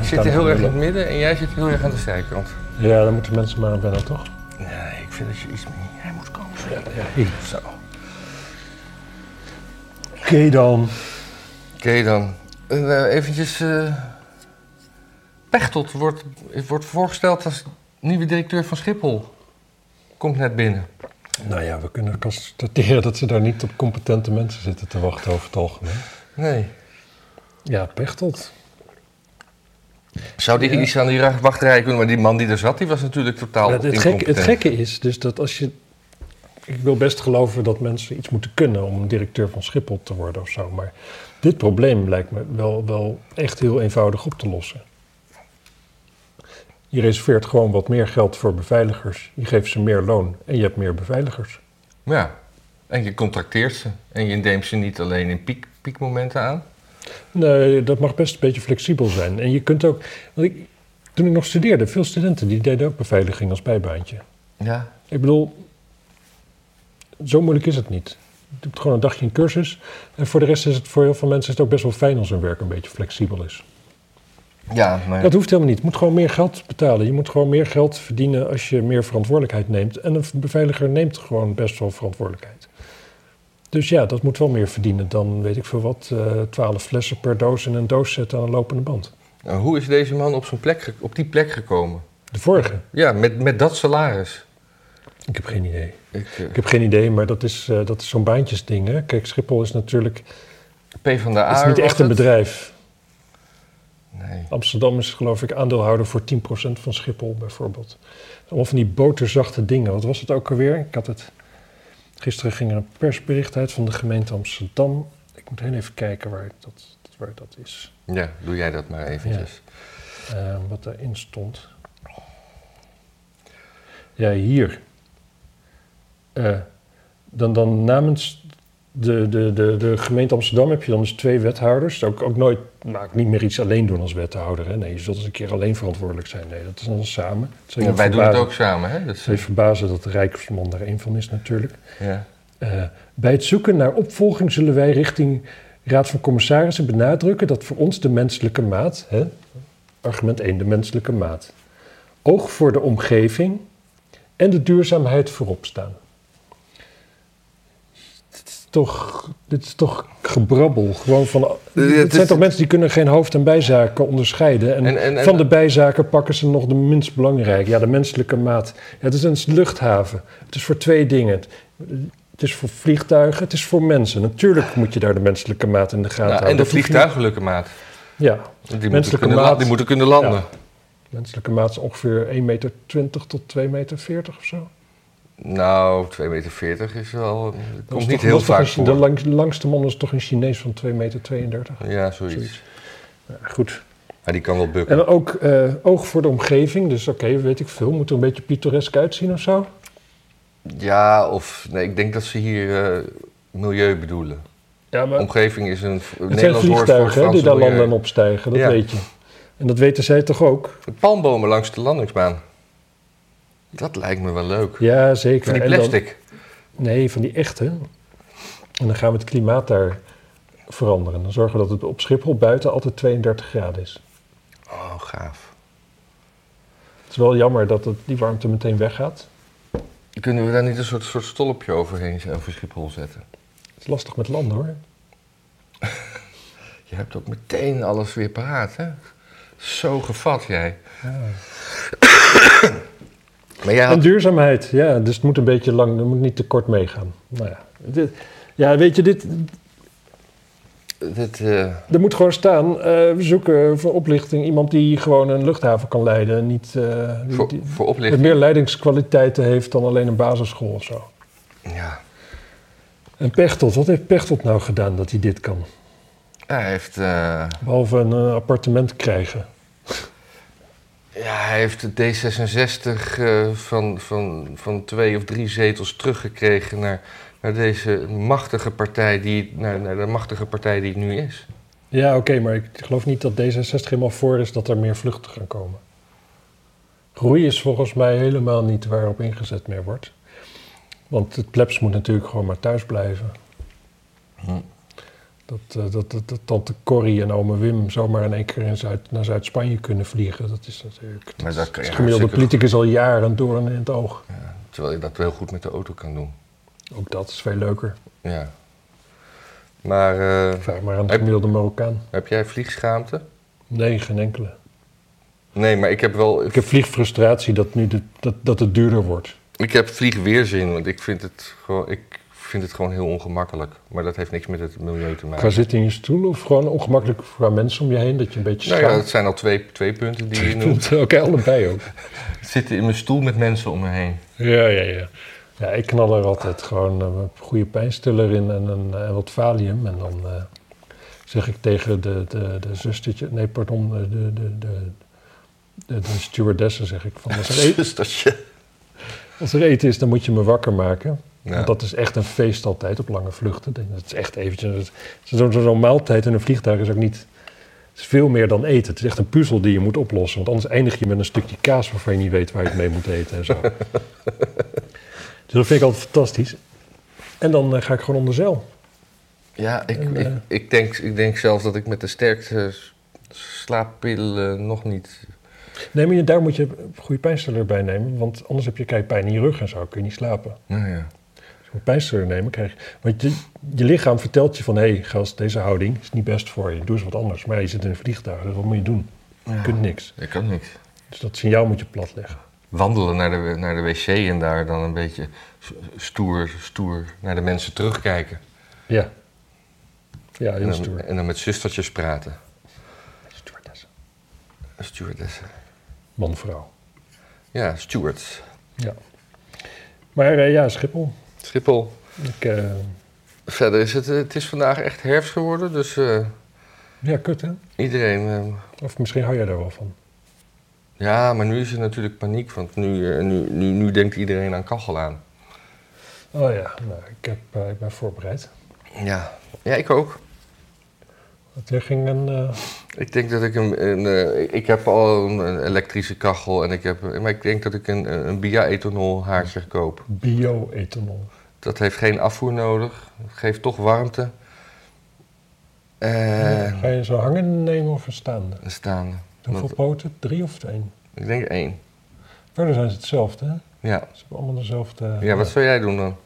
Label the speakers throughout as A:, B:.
A: zit
B: kan
A: er heel erg in het
B: lullen.
A: midden en jij zit heel erg aan de zijkant.
B: Ja, daar moeten mensen maar aan wennen, toch?
A: Nee, ik vind dat je iets meer... Jij moet komen.
B: Ja, hier.
A: Zo.
B: Oké dan.
A: Oké dan. En, eh, eventjes... eh Pechtold wordt, wordt voorgesteld als nieuwe directeur van Schiphol. Komt net binnen.
B: Nou ja, we kunnen constateren dat ze daar niet op competente mensen zitten te wachten over het algemeen.
A: Nee.
B: Ja, pechtelt.
A: Zou die
B: Ja.
A: iets aan die ra- wachtrij kunnen, maar die man die er zat, die was natuurlijk totaal
B: het, het,
A: incompetent.
B: gekke, het gekke is dus dat als je... Ik wil best geloven dat mensen iets moeten kunnen om een directeur van Schiphol te worden of zo. Maar dit probleem lijkt me wel, wel echt heel eenvoudig op te lossen. Je reserveert gewoon wat meer geld voor beveiligers. Je geeft ze meer loon en je hebt meer beveiligers.
A: Ja. En je contracteert ze. En je neemt ze niet alleen in piek, piekmomenten aan.
B: Nee, dat mag best een beetje flexibel zijn. En je kunt ook... Want ik, toen ik nog studeerde, veel studenten die deden ook beveiliging als bijbaantje.
A: Ja.
B: Ik bedoel, zo moeilijk is het niet. Je doet gewoon een dagje een cursus. En voor de rest is het voor heel veel mensen is het ook best wel fijn als hun werk een beetje flexibel is.
A: Ja, maar...
B: Dat hoeft helemaal niet. Je moet gewoon meer geld betalen. Je moet gewoon meer geld verdienen als je meer verantwoordelijkheid neemt. En een beveiliger neemt gewoon best wel verantwoordelijkheid. Dus ja, dat moet wel meer verdienen dan, weet ik veel wat, eh, twaalf flessen per doos in een doos zetten aan een lopende band.
A: Nou, hoe is deze man op, zijn plek, ge- op die plek gekomen?
B: De vorige,
A: Ja, met, met dat salaris.
B: ik heb geen idee.
A: Ik, eh,
B: Ik heb geen idee, maar dat is, eh, dat is zo'n baantjesding. Hè? Kijk, Schiphol is natuurlijk
A: P van de A.
B: het is niet echt een bedrijf.
A: Nee.
B: Amsterdam is geloof ik aandeelhouder voor 10% van Schiphol bijvoorbeeld. Allemaal van die boterzachte dingen. Wat was het ook alweer? Ik had het... Gisteren ging er een persbericht uit van de gemeente Amsterdam. Ik moet heel even kijken waar dat, waar dat is.
A: Ja, doe jij dat maar eventjes.
B: Eh, wat daarin stond. Ja, hier. Eh, dan, dan namens de, de, de, de gemeente Amsterdam heb je dan dus twee wethouders. Ook, ook nooit, nou, ook niet meer iets alleen doen als wethouder. Hè? Nee, je zult eens een keer alleen verantwoordelijk zijn. Nee, dat is dan samen. Het zal je
A: Ja, wij doen
B: verbazen-
A: het ook samen, hè? Dat
B: Het
A: is-
B: zal je verbazen dat de Rijksman daar één van is natuurlijk.
A: ja. Nou,
B: Eh, bij het zoeken naar opvolging zullen wij richting Raad van Commissarissen benadrukken dat voor ons de menselijke maat, hè, argument 1, de menselijke maat, oog voor de omgeving en de duurzaamheid voorop staan. Dit is toch, dit is toch gebrabbel. Gewoon van,
A: het
B: het zijn
A: is-
B: toch mensen die kunnen geen hoofd- en bijzaken onderscheiden. En,
A: En- en- en-
B: van de bijzaken pakken ze nog de minst belangrijke. Ja, de menselijke maat. Ja, het is een luchthaven. Het is voor twee dingen. Het is voor vliegtuigen, het is voor mensen. Natuurlijk moet je daar de menselijke maat in de gaten
A: Nou,
B: houden.
A: en de
B: Dat hoef je
A: vliegtuigelijke maat.
B: niet- Ja,
A: Die moeten,
B: Menselijke
A: kunnen
B: maat.
A: la- die moeten kunnen landen.
B: menselijke maat is ongeveer 1,20 meter tot 2,40 meter of zo.
A: Nou, 2,40 meter is wel... Dat
B: Dat is
A: komt
B: toch
A: niet heel
B: lastig
A: vaak
B: als je-
A: voor.
B: De langs- langste man is toch een Chinees van 2,32 meter.
A: Ja, zoiets.
B: Zoiets. Ja, goed.
A: Maar die kan wel bukken.
B: En dan ook eh, oog voor de omgeving. Dus oké, weet ik veel. Moet er een beetje pittoresk uitzien of zo?
A: Ja, of... Nee, ik denk dat ze hier eh, milieu bedoelen.
B: Ja, maar
A: Omgeving is een v-
B: het zijn
A: Nederlands woord voor het
B: vliegtuigen hè,
A: Franse
B: die daar
A: milieu.
B: landen en opstijgen. Dat
A: Ja.
B: weet je. En dat weten zij toch ook?
A: De palmbomen langs de landingsbaan. Dat lijkt me wel leuk.
B: Ja, zeker.
A: Van die
B: En dan-
A: plastic.
B: Nee, van die echte. En dan gaan we het klimaat daar veranderen. Dan zorgen we dat het op Schiphol buiten altijd 32 graden is.
A: Oh, gaaf.
B: Het is wel jammer dat het, die warmte meteen weggaat.
A: Kunnen we daar niet een soort, soort stolpje overheen over Schiphol zetten?
B: Het is lastig met landen hoor.
A: Je hebt ook meteen alles weer paraat, hè? Zo gevat jij. maar jij
B: En
A: had...
B: duurzaamheid, ja. Dus het moet een beetje lang, het moet niet te kort meegaan. Nou ja, dit, ja weet je, dit,
A: Dit, eh,
B: er moet gewoon staan, eh, we zoeken voor oplichting iemand die gewoon een luchthaven kan leiden. en Niet, eh, die-
A: voor,
B: die-
A: voor
B: die
A: oplichting...
B: meer leidingskwaliteiten heeft dan alleen een basisschool of zo.
A: Ja.
B: En Pechtold, wat heeft Pechtold nou gedaan dat hij dit kan?
A: Hij heeft, eh,
B: Behalve een eh, appartement krijgen.
A: ja, hij heeft de D66 eh, van, van, van twee of drie zetels teruggekregen naar, naar deze machtige partij die, naar, naar de machtige partij die het nu is.
B: Ja, oké, maar ik geloof niet dat D66 helemaal voor is dat er meer vluchten gaan komen. Groei is volgens mij helemaal niet waarop ingezet meer wordt.
A: Hm.
B: Want het plebs moet natuurlijk gewoon maar thuis blijven. Dat, eh, dat, dat, dat tante Corrie en ome Wim zomaar in één keer in Zuid, naar Zuid-Spanje kunnen vliegen. Dat is natuurlijk...
A: Maar dat kan je
B: is gemiddelde
A: hartstikke-
B: politicus al jaren door en in het oog.
A: Terwijl je dat heel goed met de auto kan doen.
B: Ook dat is veel leuker.
A: Ja. Maar eh,
B: Vraag maar aan de
A: Heb-
B: gemiddelde Marokkaan.
A: heb jij vliegschaamte?
B: Nee, geen enkele.
A: Nee, maar ik heb wel.
B: Ik heb vliegfrustratie dat, nu de, dat, dat het duurder wordt.
A: Ik heb vliegweerzin, want ik vind, het gewoon, ik vind het gewoon heel ongemakkelijk. Maar dat heeft niks met het milieu te
B: Ga
A: maken.
B: zitten in je stoel of gewoon ongemakkelijk qua mensen om je heen dat je een beetje
A: Nou ja,
B: schaamt.
A: dat zijn al twee, twee punten die je noemt.
B: Oké, allebei ook.
A: Zitten in mijn stoel met mensen om me heen.
B: Ja, ja, ja. Ja, ik knal er altijd gewoon eh, een goede pijnstiller in en, een, eh, wat valium. En dan eh, zeg ik tegen de, de, de zustertje, nee, pardon, de, de, de, de, de, de stewardessen zeg ik van, als er,
A: Dus
B: eten,
A: Zustertje.
B: als er eten is, dan moet je me wakker maken.
A: Ja.
B: Want dat is echt een feest altijd op lange vluchten. Ik denk, Dat is echt eventjes. dat is- Zo'n zo'n maaltijd in een vliegtuig is ook niet. Het is veel meer dan eten. Het is echt een puzzel die je moet oplossen. Want anders eindig je met een stukje kaas waarvan je niet weet waar je het mee moet eten en zo. dus dat vind ik altijd fantastisch. En dan eh, ga ik gewoon onder zeil.
A: Ja, ik,
B: En,
A: ik,
B: eh,
A: ik, denk, ik denk zelfs dat ik met de sterkste s- slaappillen nog niet...
B: Nee, maar je- daar moet je een goede pijnstiller bij nemen. Want anders heb je kijk, pijn in je rug en zo. Kun je niet slapen.
A: Nou ja.
B: Als je een pijnstiller nemen, krijg je... Want je, je lichaam vertelt je van... hé, hey, gast, deze houding is niet best voor je. Doe eens wat anders. Maar ja, je zit in een vliegtuig, dus wat moet je doen? Je
A: Ja.
B: kunt niks.
A: Ik kan niks.
B: Dus dat signaal moet je platleggen.
A: Wandelen naar de, naar de wc en daar dan een beetje s- stoer, stoer naar de mensen terugkijken.
B: Ja. Ja, eh,
A: En
B: heel
A: dan,
B: stoer.
A: en dan met zustertjes praten.
B: Stewardess.
A: Stewardessen.
B: Man, vrouw.
A: Ja, stewards.
B: Ja. Maar eh, ja, Schiphol.
A: Schiphol.
B: Ik, eh,
A: Verder is het, eh, het is vandaag echt herfst geworden, dus eh,
B: ja, kut hè?
A: iedereen... eh,
B: Of misschien hou jij daar wel van.
A: ja, maar nu is er natuurlijk paniek, want nu, eh, nu, nu, nu denkt iedereen aan kachel aan.
B: Oh ja, nou, ik, heb, eh, ik ben voorbereid.
A: Ja, ja ik ook.
B: Want Er ging een... eh,
A: Ik denk dat ik een, een, eh, ik heb al een, een elektrische kachel en ik heb, maar ik denk dat ik een, een bia-ethanol haardje koop.
B: bio-ethanol.
A: Dat heeft geen afvoer nodig, het geeft toch warmte. Eh,
B: Ga je zo hangen nemen of een staande?
A: een staande.
B: Hoeveel
A: Want
B: poten? Drie of één?
A: ik denk één.
B: Verder zijn ze hetzelfde, hè?
A: Ja.
B: Ze hebben allemaal dezelfde...
A: ja, wat zou jij doen dan?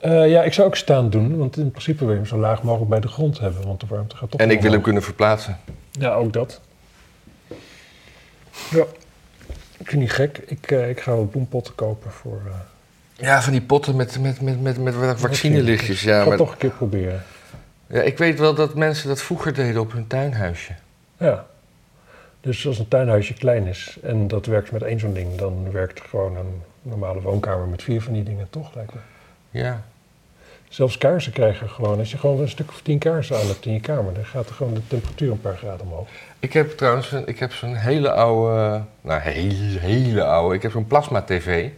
B: Eh, ja, ik zou ook staand doen, want in principe wil je hem zo laag mogelijk bij de grond hebben, want de warmte gaat toch
A: En ik wil hem
B: omhoog.
A: kunnen verplaatsen.
B: Ja, ook dat. Ja, ik vind niet gek. Ik, eh, ik ga wat bloempotten kopen voor... eh,
A: Ja, van die potten met, met, met, met, met vaccinelichtjes.
B: ik
A: Ja,
B: ga
A: maar,
B: het toch een keer proberen.
A: ja, ik weet wel dat mensen dat vroeger deden op hun tuinhuisje.
B: Ja. Dus als een tuinhuisje klein is en dat werkt met één zo'n ding, dan werkt gewoon een normale woonkamer met vier van die dingen toch, lijkt me.
A: Ja.
B: Zelfs kaarsen krijgen gewoon. Als je gewoon een stuk of tien kaarsen aan hebt in je kamer, dan gaat er gewoon de temperatuur een paar graden omhoog.
A: Ik heb trouwens een- ik heb zo'n hele oude, nou hele, hele oude, ik heb zo'n plasma tv.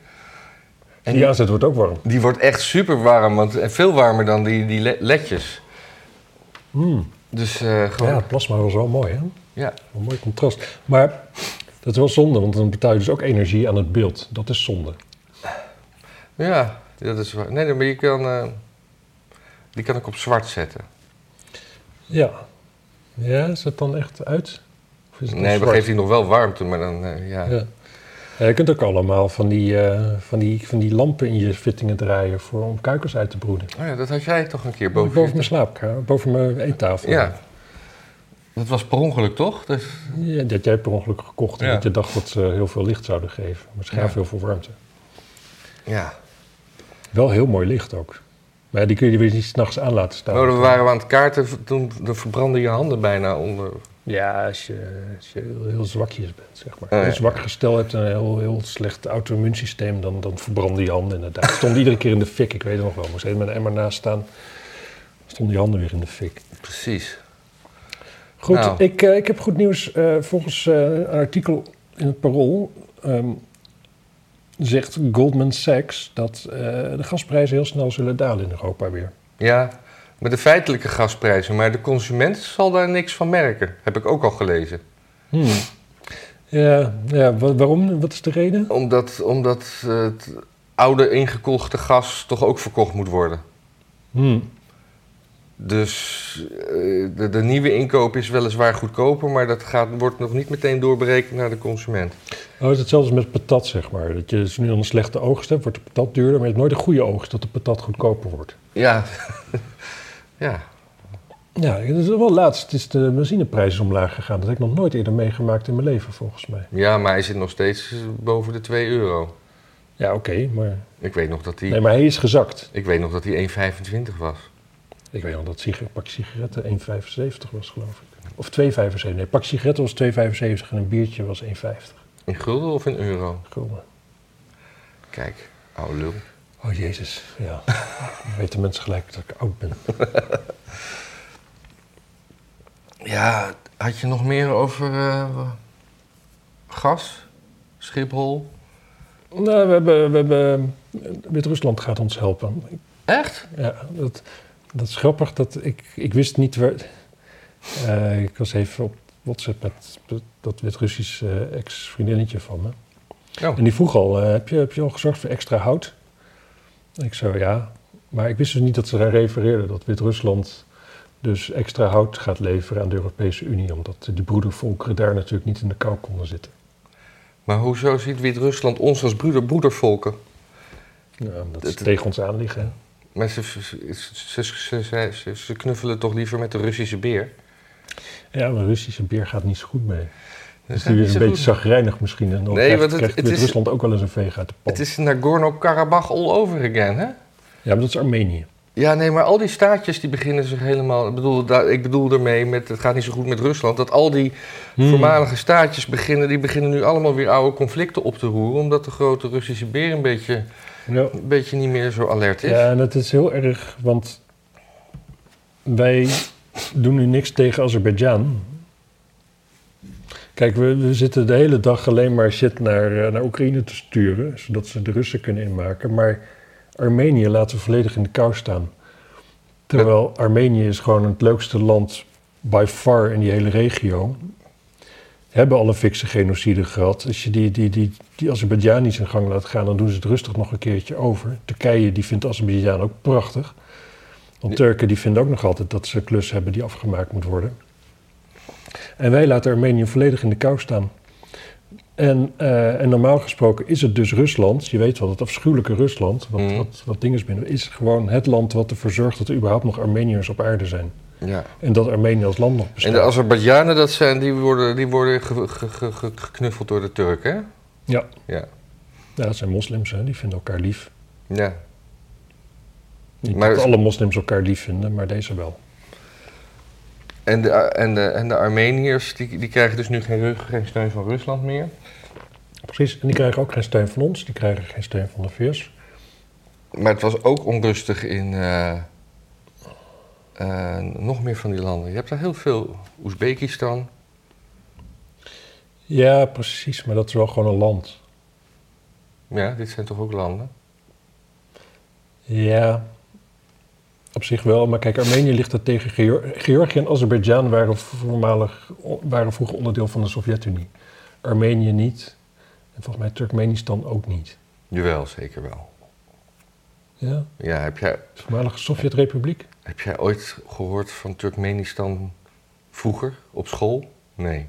B: En die aanzet wordt ook warm.
A: Die wordt echt super warm, want en veel warmer dan die, die le- ledjes.
B: Mm.
A: Dus eh, gewoon,
B: Ja,
A: ja.
B: het plasma was wel mooi, hè?
A: ja.
B: Een mooi contrast. Maar dat is wel zonde, want dan betaal je dus ook energie aan het beeld. Dat is zonde.
A: dat is waar. Nee, nee, maar je kan, eh, die kan ik op zwart zetten.
B: Ja. Ja, is het dan echt uit? Of is het
A: Nee,
B: nog
A: dan geeft
B: zwart?
A: die nog wel warmte, maar dan, eh, Dus ja.
B: Ja. Ja, je kunt ook allemaal van die, eh, van, die, van die lampen in je fittingen draaien voor, om kuikens uit te broeden.
A: Oh ja, dat had jij toch een keer boven,
B: Boven, mijn slaapkamer, boven mijn eettafel.
A: Ja. Dat was per ongeluk, toch? Dus,
B: Ja, dat jij per ongeluk gekocht en
A: Ja.
B: dat je dacht dat ze heel veel licht zouden geven. Maar ze gaven
A: Ja.
B: heel veel warmte.
A: ja.
B: Wel heel mooi licht ook. Maar ja, die kun je weer niet s'nachts aan laten staan.
A: Nou, we waren we aan het kaarten, v- toen dan verbrandden je handen bijna onder.
B: Ja, als je, als je heel, heel zwakjes bent, zeg maar.
A: Oh, ja.
B: Een zwak gestel hebt en een heel, heel slecht auto-immuunsysteem, dan, dan verbranden je handen inderdaad. Stond iedere keer in de fik, ik weet het nog wel. Moest even met een emmer naast staan, stonden je handen weer in de fik.
A: Precies.
B: Goed,
A: Nou.
B: ik, eh, ik heb goed nieuws. Eh, volgens eh, een artikel in het Parool ehm, zegt Goldman Sachs dat eh, de gasprijzen heel snel zullen dalen in Europa weer.
A: Ja, met de feitelijke gasprijzen, maar de consument zal daar niks van merken. Heb ik ook al gelezen.
B: Ja, ja wa- waarom? Wat is de reden?
A: Omdat, omdat eh, het oude ingekochte gas toch ook verkocht moet worden.
B: Hmm.
A: Dus eh, de, de nieuwe inkoop is weliswaar goedkoper, maar dat gaat, wordt nog niet meteen doorberekend naar de consument.
B: Nou, het is hetzelfde als met patat, zeg maar. Dat je als je nu al een slechte oogst hebt, wordt de patat duurder. Maar je hebt nooit een goede oogst dat de patat goedkoper wordt.
A: Ja, ja.
B: Ja, het is wel laatst is de benzineprijs is omlaag gegaan. Dat heb ik nog nooit eerder meegemaakt in mijn leven, volgens mij.
A: ja, maar hij zit nog steeds eh, boven de 2 euro.
B: Ja, oké, maar...
A: Ik weet nog dat hij,
B: Nee, maar hij is gezakt.
A: ik weet nog dat hij 1,25 was.
B: Ik weet nog dat sigaret, pak sigaretten 1,75 was, geloof ik. Of 2,75. Nee, pak sigaretten was 2,75 en een biertje was 1,50.
A: In gulden of in euro?
B: Gulden.
A: Kijk, oude lul.
B: Oh, jezus. Ja. Dan weten mensen gelijk dat ik oud ben.
A: Ja, had je nog meer over eh, gas, Schiphol?
B: Nou, we hebben... We hebben eh, Wit-Rusland gaat ons helpen.
A: Echt?
B: Ja, dat, dat is grappig. Dat ik, ik wist niet waar... Eh, ik was even op WhatsApp met dat Wit-Russisch eh, ex-vriendinnetje van me.
A: Oh.
B: En die vroeg al, eh, heb, je, heb je al gezorgd voor extra hout? En ik zei, ja. Maar ik wist dus niet dat ze daar refereerden. Dat Wit-Rusland dus extra hout gaat leveren aan de Europese Unie. Omdat de broedervolkeren daar natuurlijk niet in de kou konden zitten.
A: Maar hoezo ziet Wit-Rusland ons als broeder, broedervolken?
B: Ja, dat
A: Dat-
B: is tegen ons aanliggen. hè.
A: Maar ze, ze, ze, ze- ze- ze- ze knuffelen toch liever met de Russische beer?
B: Ja, maar Russische beer gaat niet zo goed mee.
A: Dat
B: Dus
A: gaat
B: die
A: niet
B: is
A: zo
B: een beetje
A: goed.
B: zagrijnig misschien. En
A: Nee,
B: dan krijgt,
A: want het-
B: krijgt
A: het is-
B: Wit-Rusland ook wel eens een veeg uit de pan.
A: Het is Nagorno-Karabakh all over again, hè?
B: Ja, maar dat is Armenië.
A: Ja, nee, maar al die staatjes die beginnen zich helemaal... Ik bedoel, daar- ik bedoel daarmee, met, het gaat niet zo goed met Rusland... dat al die voormalige staatjes beginnen... die beginnen nu allemaal weer oude conflicten op te roeren... omdat de grote Russische beer een beetje,
B: Ja.
A: een beetje niet meer zo alert is.
B: Ja, en dat is heel erg, want wij doen nu niks tegen Azerbeidzjan. Kijk, we, we zitten de hele dag alleen maar shit naar, eh, naar Oekraïne te sturen, zodat ze de Russen kunnen inmaken. Maar Armenië laten we volledig in de kou staan. Terwijl Armenië is gewoon het leukste land by far in die hele regio. Hebben alle fikse genocide gehad. Als je die, die, die, die Azerbeidzjan niet zijn gang laat gaan, dan doen ze het rustig nog een keertje over. Turkije die vindt Azerbeidzjan ook prachtig. Want Turken die vinden ook nog altijd dat ze klus hebben die afgemaakt moet worden. En wij laten Armenië volledig in de kou staan. En, eh, en normaal gesproken is het dus Rusland, je weet wel, dat afschuwelijke Rusland, wat,
A: Mhm.
B: wat, wat dingen binnen, is gewoon het land wat ervoor zorgt dat er überhaupt nog Armeniërs op aarde zijn.
A: Ja.
B: En dat Armenië als land nog
A: En
B: bestaat.
A: de Azerbeidzjanen, dat zijn, die worden, die worden ge- ge- ge- ge- geknuffeld door de Turken, hè?
B: Ja.
A: Ja.
B: Ja, dat zijn moslims, hè? die vinden elkaar lief.
A: Ja.
B: Niet
A: Maar-
B: dat alle moslims elkaar lief vinden, maar deze wel.
A: En de, en de, en de Armeniërs, die, die krijgen dus nu geen, rug, geen steun van Rusland meer.
B: Precies, en die krijgen ook geen steun van ons, die krijgen geen steun van de VS.
A: Maar het was ook onrustig in eh, eh, nog meer van die landen. Je hebt daar heel veel. Oezbekistan.
B: Ja, precies, maar dat is wel gewoon een land.
A: Ja, dit zijn toch ook landen?
B: Ja, op zich wel, maar kijk, Armenië ligt er tegen. Geor- Georgië en Azerbeidzjan waren, voormalig, waren vroeger onderdeel van de Sovjet-Unie. Armenië niet, en volgens mij Turkmenistan ook niet.
A: Jawel, zeker wel.
B: Ja,
A: Ja, heb jij,
B: de voormalige Sovjet-Republiek.
A: heb jij ooit gehoord van Turkmenistan vroeger op school? Nee.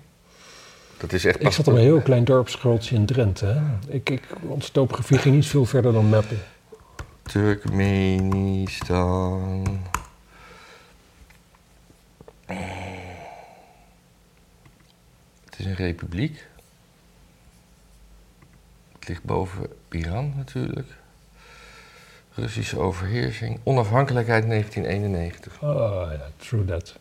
A: Dat is echt
B: Ik
A: pas...
B: zat op een heel klein dorpsgrootje in Drenthe. Hè? Ik, ik, ons toopgebied ging niet veel verder dan Meppel.
A: Turkmenistan. Het is een republiek. Het ligt boven Iran natuurlijk. Russische overheersing. Onafhankelijkheid 1991.
B: Ah, ja, true that.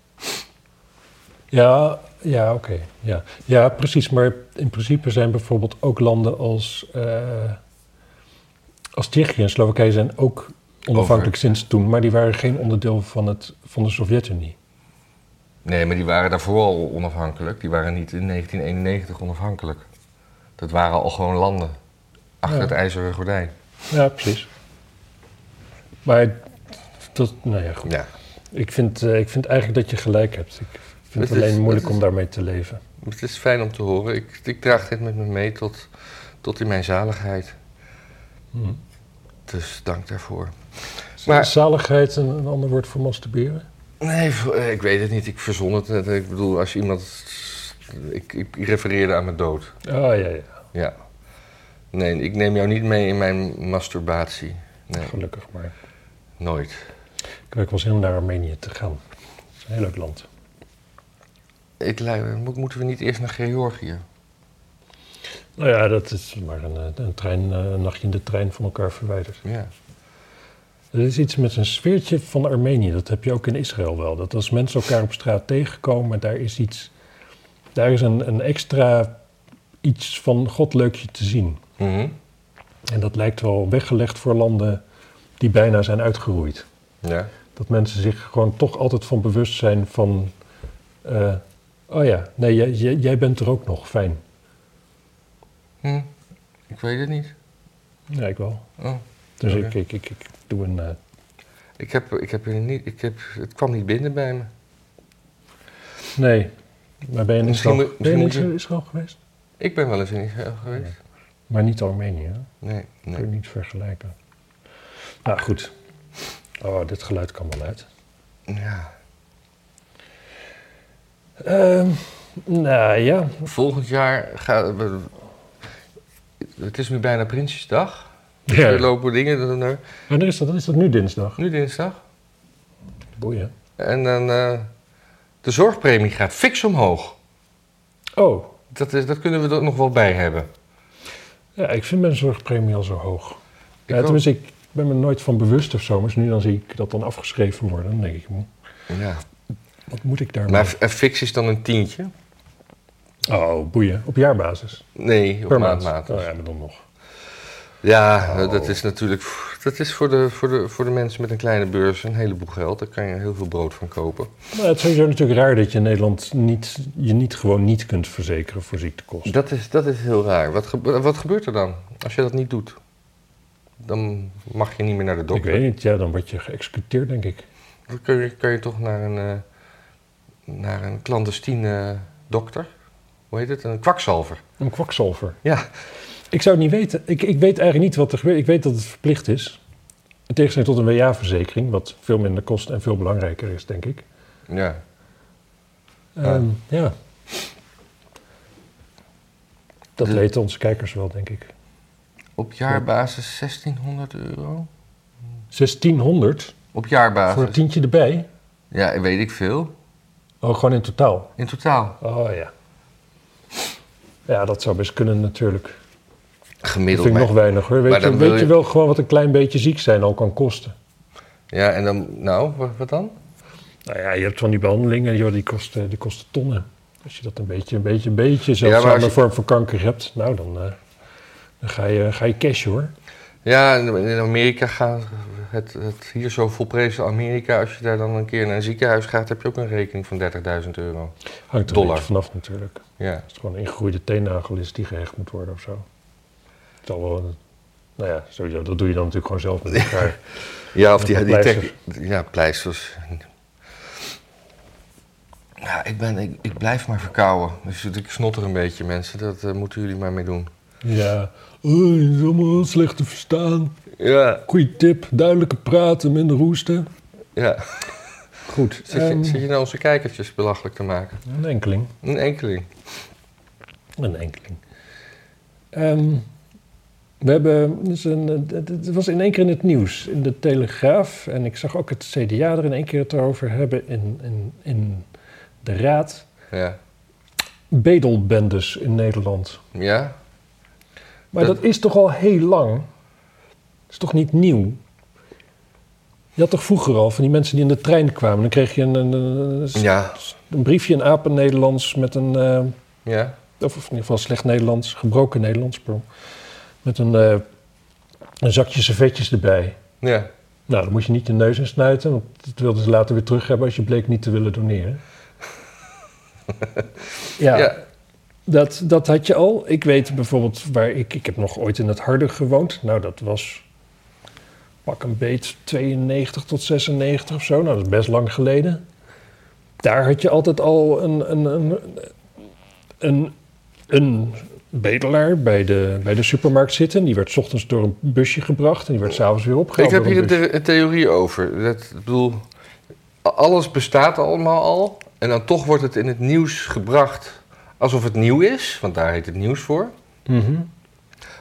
B: Ja, ja oké. Ja. ja, precies. Maar in principe zijn bijvoorbeeld ook landen als, eh, als Tsjechië en Slowakije zijn ook onafhankelijk sinds toen. Maar die waren geen onderdeel van, het, van de Sovjet-Unie.
A: Nee, maar die waren daarvoor al onafhankelijk. Die waren niet in 1991 onafhankelijk. Dat waren al gewoon landen. Achter
B: Ja.
A: het ijzeren gordijn.
B: Ja, precies. Maar dat, nou ja, goed.
A: Ja.
B: Ik vind, eh, ik vind eigenlijk dat je gelijk hebt. Ik vind
A: Het
B: het
A: is-
B: alleen moeilijk
A: het is-
B: om daarmee te leven.
A: Het is fijn om te horen. Ik, ik draag dit met me mee tot, tot in mijn zaligheid.
B: Hm.
A: Hmm. Dus dank daarvoor.
B: Is
A: Maar-
B: Zaligheid een, een ander woord voor masturberen?
A: Nee, v- eh, ik weet het niet. Ik verzon het net. Ik bedoel, als je iemand... Ik, ik refereerde aan mijn dood.
B: Ah, ja, ja.
A: Ja. Nee, ik neem jou niet mee in mijn masturbatie. Nee,
B: Gelukkig maar.
A: nooit.
B: Ik leuk was heel naar Armenië te gaan. Dat is een heel leuk land.
A: Ik, lei- mo- moeten we niet eerst naar Georgië?
B: Nou ja, dat is maar een, eh, een, trein, eh, een nachtje in de trein van elkaar verwijderd.
A: Ja.
B: Er is iets met een sfeertje van Armenië. Dat heb je ook in Israël wel. Dat als mensen elkaar op straat tegenkomen, daar is iets. Daar is een, een extra iets van God leukje te zien.
A: Mhm.
B: En dat lijkt wel weggelegd voor landen die bijna zijn uitgeroeid.
A: Ja.
B: Dat mensen zich gewoon toch altijd van bewust zijn van. eh, oh ja, nee, jij, jij- jij bent er ook nog. Fijn.
A: Hm. Ik weet het niet.
B: Ja, ik wel.
A: Oh.
B: Dus
A: Oké.
B: ik, ik, ik, ik doe een. eh,
A: Ik heb, ik heb hier niet... Ik heb, het kwam niet binnen bij me.
B: nee, maar ben je in
A: Misschien
B: Israël,
A: moet-
B: ben je in
A: misschien moet je-
B: Israël geweest?
A: Ik ben wel eens in Israël geweest.
B: Maar niet Armenië. hè?
A: Nee, nee.
B: Kun je niet vergelijken. Nou goed. Oh, dit geluid kan wel uit.
A: Ja.
B: Ehm, nou ja.
A: Volgend jaar gaat... we- Het is nu bijna Prinsjesdag. Dus Er
B: ja.
A: lopen dingen... door naar-
B: Wanneer is dat? Is dat nu dinsdag?
A: Nu dinsdag.
B: Boeien.
A: En dan... eh, de zorgpremie gaat fix omhoog.
B: Oh,
A: Dat, is, dat kunnen we er nog wel bij hebben.
B: ja, ik vind mijn zorgpremie al zo hoog. Ja,
A: ook.
B: tenminste, ik ben me nooit van bewust of zo. Maar als nu dan zie ik dat dan afgeschreven worden. Dan denk ik, "Hm,
A: Ja.
B: wat moet ik daarmee?
A: Maar f- eh, fix is dan een tientje?
B: Oh, boeien. Op jaarbasis.
A: Nee,
B: Per
A: op
B: maand.
A: maandmaat.
B: Oh ja, maar dan nog.
A: Ja,
B: Oh.
A: eh, dat is natuurlijk... pff, Dat is voor de, voor, de, voor de mensen met een kleine beurs een heleboel geld. Daar kan je heel veel brood van kopen.
B: Maar het is sowieso natuurlijk raar dat je in Nederland niet, je niet gewoon niet kunt verzekeren voor ziektekosten.
A: Dat is, dat is heel raar. Wat, gebe- wat gebeurt er dan als je dat niet doet? Dan mag je niet meer naar de
B: ik
A: dokter.
B: weet niet, ja, dan word je geëxecuteerd, denk ik.
A: Dan kun je, kun je toch naar een, eh, naar een clandestine dokter? Hoe heet het? Een kwakzalver.
B: Een kwakzalver.
A: Ja,
B: Ik zou het niet weten. Ik, ik weet eigenlijk niet wat er gebeurt. Ik weet dat het verplicht is. In tegenstelling tot een WA-verzekering, wat veel minder kost en veel belangrijker is, denk ik.
A: ja.
B: Ehm, ja. Dat weten onze kijkers wel, denk ik.
A: Op jaarbasis 1600 euro?
B: 1600
A: Op
B: voor een
A: jaarbasis?
B: tientje erbij.
A: Ja, weet ik veel.
B: Oh, gewoon in totaal.
A: In totaal.
B: Oh ja. Ja, dat zou best kunnen natuurlijk. Dat
A: Gemiddeld.
B: vind ik nog
A: maar-
B: weinig hoor. Weet,
A: maar
B: je,
A: dan wil
B: weet je
A: je-
B: wel gewoon wat een klein beetje ziek zijn al kan kosten?
A: Ja, en dan, nou, wa- wat dan?
B: Nou ja, je hebt van die behandelingen, joh, die, kosten, die kosten tonnen. Als je dat een beetje, een beetje, een beetje zeldzame
A: als je-
B: vorm van kanker hebt, nou dan, eh, dan ga, je, ga je cash hoor.
A: Ja, in in Amerika gaat het, het hier zo volprezen Amerika. Als je daar dan een keer naar een ziekenhuis gaat, heb je ook een rekening van 30.000 euro.
B: Hangt er een
A: Dollar.
B: beetje vanaf natuurlijk.
A: Ja.
B: Als het gewoon een ingegroeide teennagel is die gehecht moet worden of zo. Het zal wel, een- nou ja, sowieso, dat doe je dan natuurlijk gewoon zelf met elkaar.
A: Ja, of die,
B: Met
A: die
B: pleisters.
A: tech- Ja, pleisters. Ja, ik, ben, ik, ik blijf maar verkouden. Dus ik snotter een beetje, mensen. Dat eh, moeten jullie maar mee doen.
B: ja, oh, je is allemaal slecht te verstaan.
A: Ja,
B: Goeie tip, duidelijker praten, minder roesten. Ehm,
A: ja.
B: Goed.
A: Zit, je, zit je nou onze kijkertjes belachelijk te maken?
B: Een enkeling.
A: Een enkeling.
B: Een enkeling. Ehm, we hebben, dus een, het, het was in één keer in het nieuws, in de Telegraaf. En ik zag ook het CDA er in één keer het over hebben in, in, in de Raad.
A: Ja.
B: Bedelbendes in Nederland.
A: Ja?
B: Maar dat, is toch al heel lang? Dat is toch niet nieuw? Je had toch vroeger al van die mensen die in de trein kwamen. Dan kreeg je een, een, een,
A: Ja.
B: een briefje in apen-Nederlands met een... eh,
A: Ja.
B: of in ieder geval slecht Nederlands, gebroken Nederlands, pardon. met een, eh, een zakje servetjes erbij.
A: Ja.
B: Nou, dan moest je niet je neus in snuiten, want dat wilden ze later weer terug hebben als je bleek niet te willen doneren. ja,
A: Ja.
B: Dat, dat had je al. Ik weet bijvoorbeeld waar ik, ik heb nog ooit in het Harde gewoond. Nou, dat was pak een beet 92 tot 96 of zo. Nou, dat is best lang geleden. Daar had je altijd al een, een, een, een, een bedelaar bij de, bij de supermarkt zitten. Die werd 's ochtends door een busje gebracht en die werd s'avonds weer opgehaald.
A: Ik heb
B: door
A: hier
B: een busje.
A: een, the- een theorie over. Dat, ik bedoel, a- alles bestaat allemaal al. En dan toch wordt het in het nieuws gebracht alsof het nieuw is, want daar heet het nieuws voor.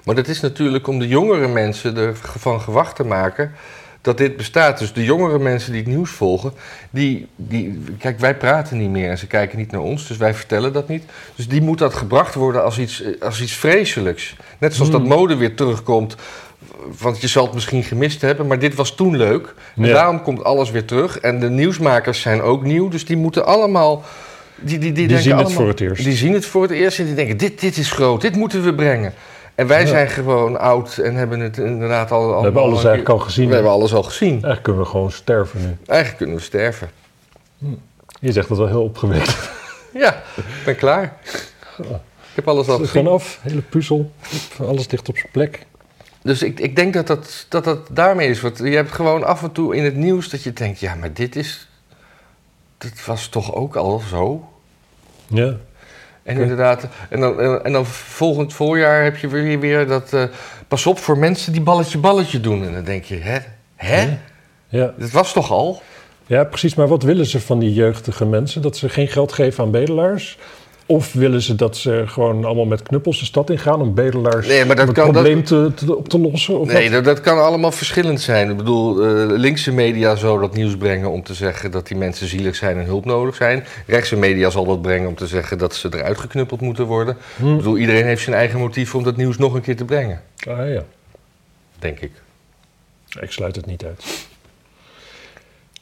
A: Maar dat is natuurlijk om de jongere mensen ervan gewacht te maken dat dit bestaat. Dus de jongere mensen die het nieuws volgen, die, die, kijk, wij praten niet meer en ze kijken niet naar ons, dus wij vertellen dat niet. Dus die moet dat gebracht worden als iets, eh, als iets vreselijks. Net zoals
B: Hmm.
A: dat mode weer terugkomt, want je zal het misschien gemist hebben, maar dit was toen leuk. En
B: Ja.
A: daarom komt alles weer terug. En de nieuwsmakers zijn ook nieuw, dus die moeten allemaal. Die, die, die,
B: Die,
A: denken
B: zien het
A: allemaal-
B: voor het eerst.
A: die zien het voor het eerst en die denken, dit, dit is groot, dit moeten we brengen. En wij
B: Ja.
A: zijn gewoon oud en hebben het inderdaad al...
B: we hebben alles eigenlijk al gezien.
A: We hebben alles al gezien.
B: Eigenlijk kunnen we gewoon sterven nu.
A: Eigenlijk kunnen we sterven.
B: Je zegt dat wel heel opgewekt.
A: Ja, ik ben klaar. Ik heb alles al
B: Het
A: gezien.
B: gaan af, hele puzzel. Alles ligt op zijn plek.
A: Dus ik, ik denk dat dat, dat dat daarmee is. Want je hebt gewoon af en toe in het nieuws dat je denkt... ja, maar dit is... dit was toch ook al zo?
B: Ja.
A: En
B: Oké.
A: inderdaad, en dan, en, en dan volgend voorjaar heb je weer, weer dat... eh, pas op voor mensen die balletje balletje doen. En dan denk je, hè? Hè?
B: Ja. Ja.
A: Dat was toch al?
B: ja, precies. Maar wat willen ze van die jeugdige mensen? Dat ze geen geld geven aan bedelaars? Of willen ze dat ze gewoon allemaal met knuppels de stad ingaan om bedelaars
A: Nee, maar dat
B: om het
A: kan-
B: probleem Te, te- op te lossen? Of
A: Nee,
B: wat?
A: dat, dat kan allemaal verschillend zijn. Ik bedoel, eh, linkse media zou dat nieuws brengen om te zeggen dat die mensen zielig zijn en hulp nodig zijn. Rechtse media zal dat brengen om te zeggen dat ze eruit geknuppeld moeten worden. Ik
B: Hm.
A: bedoel, iedereen heeft zijn eigen motief om dat nieuws nog een keer te brengen,
B: Ah ja,
A: denk ik.
B: ik sluit het niet uit.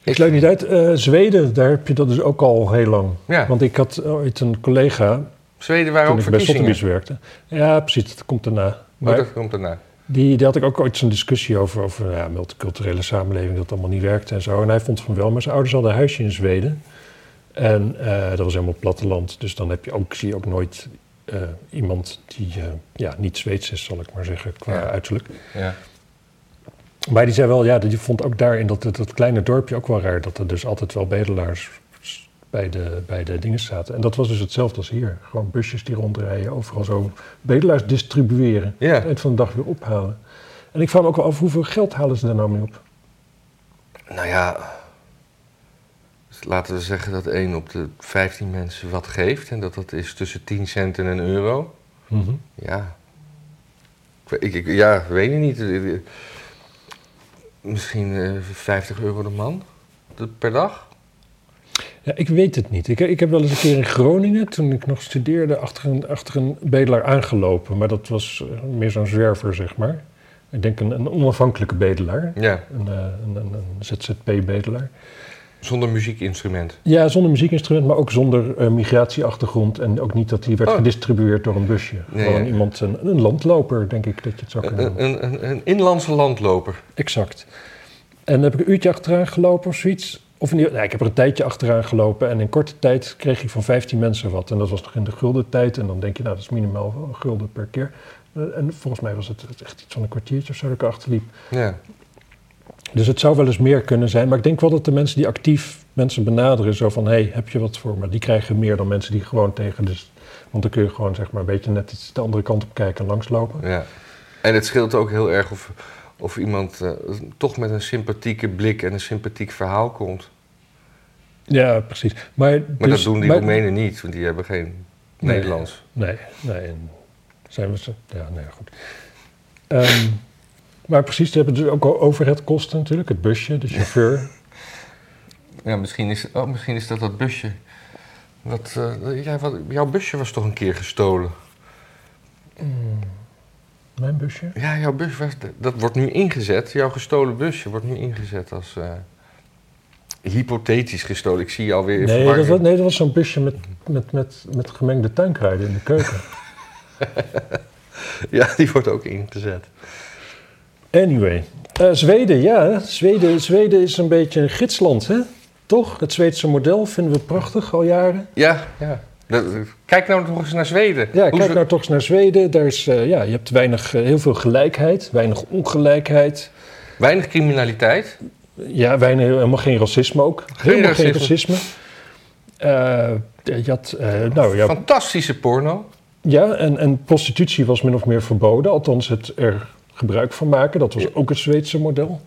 B: Ik sluit niet uit. Eh, Zweden, daar heb je dat dus ook al heel lang.
A: Ja,
B: Want ik had ooit een collega,
A: Zweden waren
B: toen
A: ook
B: ik bij
A: verkiezingen.
B: Sotheby's werkte. Ja, precies, dat komt daarna.
A: Maar
B: Maar
A: dat komt daarna.
B: die, die had ik ook ooit zo'n discussie over, over ja, multiculturele samenleving, dat allemaal niet werkte en zo. En hij vond van wel, maar zijn ouders hadden een huisje in Zweden. En eh, dat was helemaal platteland, dus dan heb je ook, zie je ook nooit eh, iemand die eh, ja, niet Zweeds is, zal ik maar zeggen, qua
A: Ja.
B: uiterlijk.
A: Ja.
B: Maar die zei wel, ja, die vond ook daarin dat, dat, dat kleine dorpje ook wel raar, dat er dus altijd wel bedelaars bij de, bij de dingen zaten. En dat was dus hetzelfde als hier. Gewoon busjes die rondrijden, overal zo bedelaars distribueren. Aan
A: ja.
B: het eind van de dag weer ophalen. En ik vraag me ook wel af, hoeveel geld halen ze daar nou mee op?
A: Nou ja, dus laten we zeggen dat 1 op de 15 mensen wat geeft. En dat dat is tussen 10 cent en een euro. Ja. Ik, ik, ja, weet ik niet. Eh, eh, Misschien eh, 50 euro de man de- per dag?
B: Ja, ik weet het niet. Ik, ik heb wel eens een keer in Groningen, toen ik nog studeerde, achter een, achter een bedelaar aangelopen. Maar dat was eh, meer zo'n zwerver, zeg maar. Ik denk een, een onafhankelijke bedelaar.
A: Ja,
B: Een, eh, een, een, een ZZP-bedelaar.
A: zonder muziekinstrument.
B: Ja, zonder muziekinstrument, maar ook zonder eh, migratieachtergrond. En ook niet dat die werd
A: Oh.
B: gedistribueerd door een busje.
A: Nee,
B: Gewoon
A: ja. Eh,
B: iemand, een, een landloper, denk ik dat je het zou kunnen noemen.
A: Een, een, een, een inlandse landloper.
B: Exact. En dan heb ik een uurtje achteraan gelopen of zoiets. Of in ieder- nou, ik heb er een tijdje achteraan gelopen en in korte tijd kreeg ik van 15 mensen wat. En dat was nog in de gulden tijd. En dan denk je, nou, dat is minimaal wel een gulden per keer. Eh, En volgens mij was het echt iets van een kwartiertje of zo dat ik achterliep.
A: Ja.
B: Dus het zou wel eens meer kunnen zijn. Maar ik denk wel dat de mensen die actief mensen benaderen, zo van, hé, hey, heb je wat voor me? Die krijgen meer dan mensen die gewoon tegen dus Want dan kun je gewoon zeg maar een beetje net iets de andere kant op kijken en langslopen.
A: ja. En het scheelt ook heel erg of, of iemand eh, toch met een sympathieke blik en een sympathiek verhaal komt.
B: Ja, precies. Maar,
A: Maar
B: dus-
A: dat doen die
B: maar-
A: Roemenen niet, want die hebben geen
B: Nee.
A: Nederlands.
B: Nee, nee. en Zijn we ze? Ja, nee, goed. Ehm, maar precies, ze hebben dus ook al overheadkosten natuurlijk. Het busje, de chauffeur.
A: Ja, misschien is, oh, misschien is dat dat busje. Wat, eh, ja, wat, jouw busje was toch een keer gestolen?
B: Mijn busje?
A: Ja, jouw bus was, dat wordt nu ingezet. Jouw gestolen busje wordt nu ingezet als eh, hypothetisch gestolen. Ik zie je alweer in
B: Nee dat,
A: verwarring.
B: was, nee, dat was zo'n busje met, met, met, met gemengde tuinkruiden in de keuken.
A: Ja, die wordt ook ingezet.
B: Anyway. Eh, Zweden, ja. Zweden, Zweden is een beetje een gidsland, hè? Toch? Het Zweedse model vinden we prachtig al jaren.
A: Ja, ja. Dat- kijk nou nog eens naar Zweden.
B: Ja,
A: Hoe
B: kijk
A: ze-
B: nou toch eens naar Zweden. Daar is, eh, ja, je hebt weinig, eh, heel veel gelijkheid, weinig ongelijkheid.
A: Weinig criminaliteit.
B: Ja, weinig, helemaal geen racisme ook. Helemaal geen racisme. Eh, je had, eh, nou ja,
A: Fantastische porno.
B: ja en, en prostitutie was min of meer verboden. Althans, het er gebruik van maken, dat was ook het Zweedse model.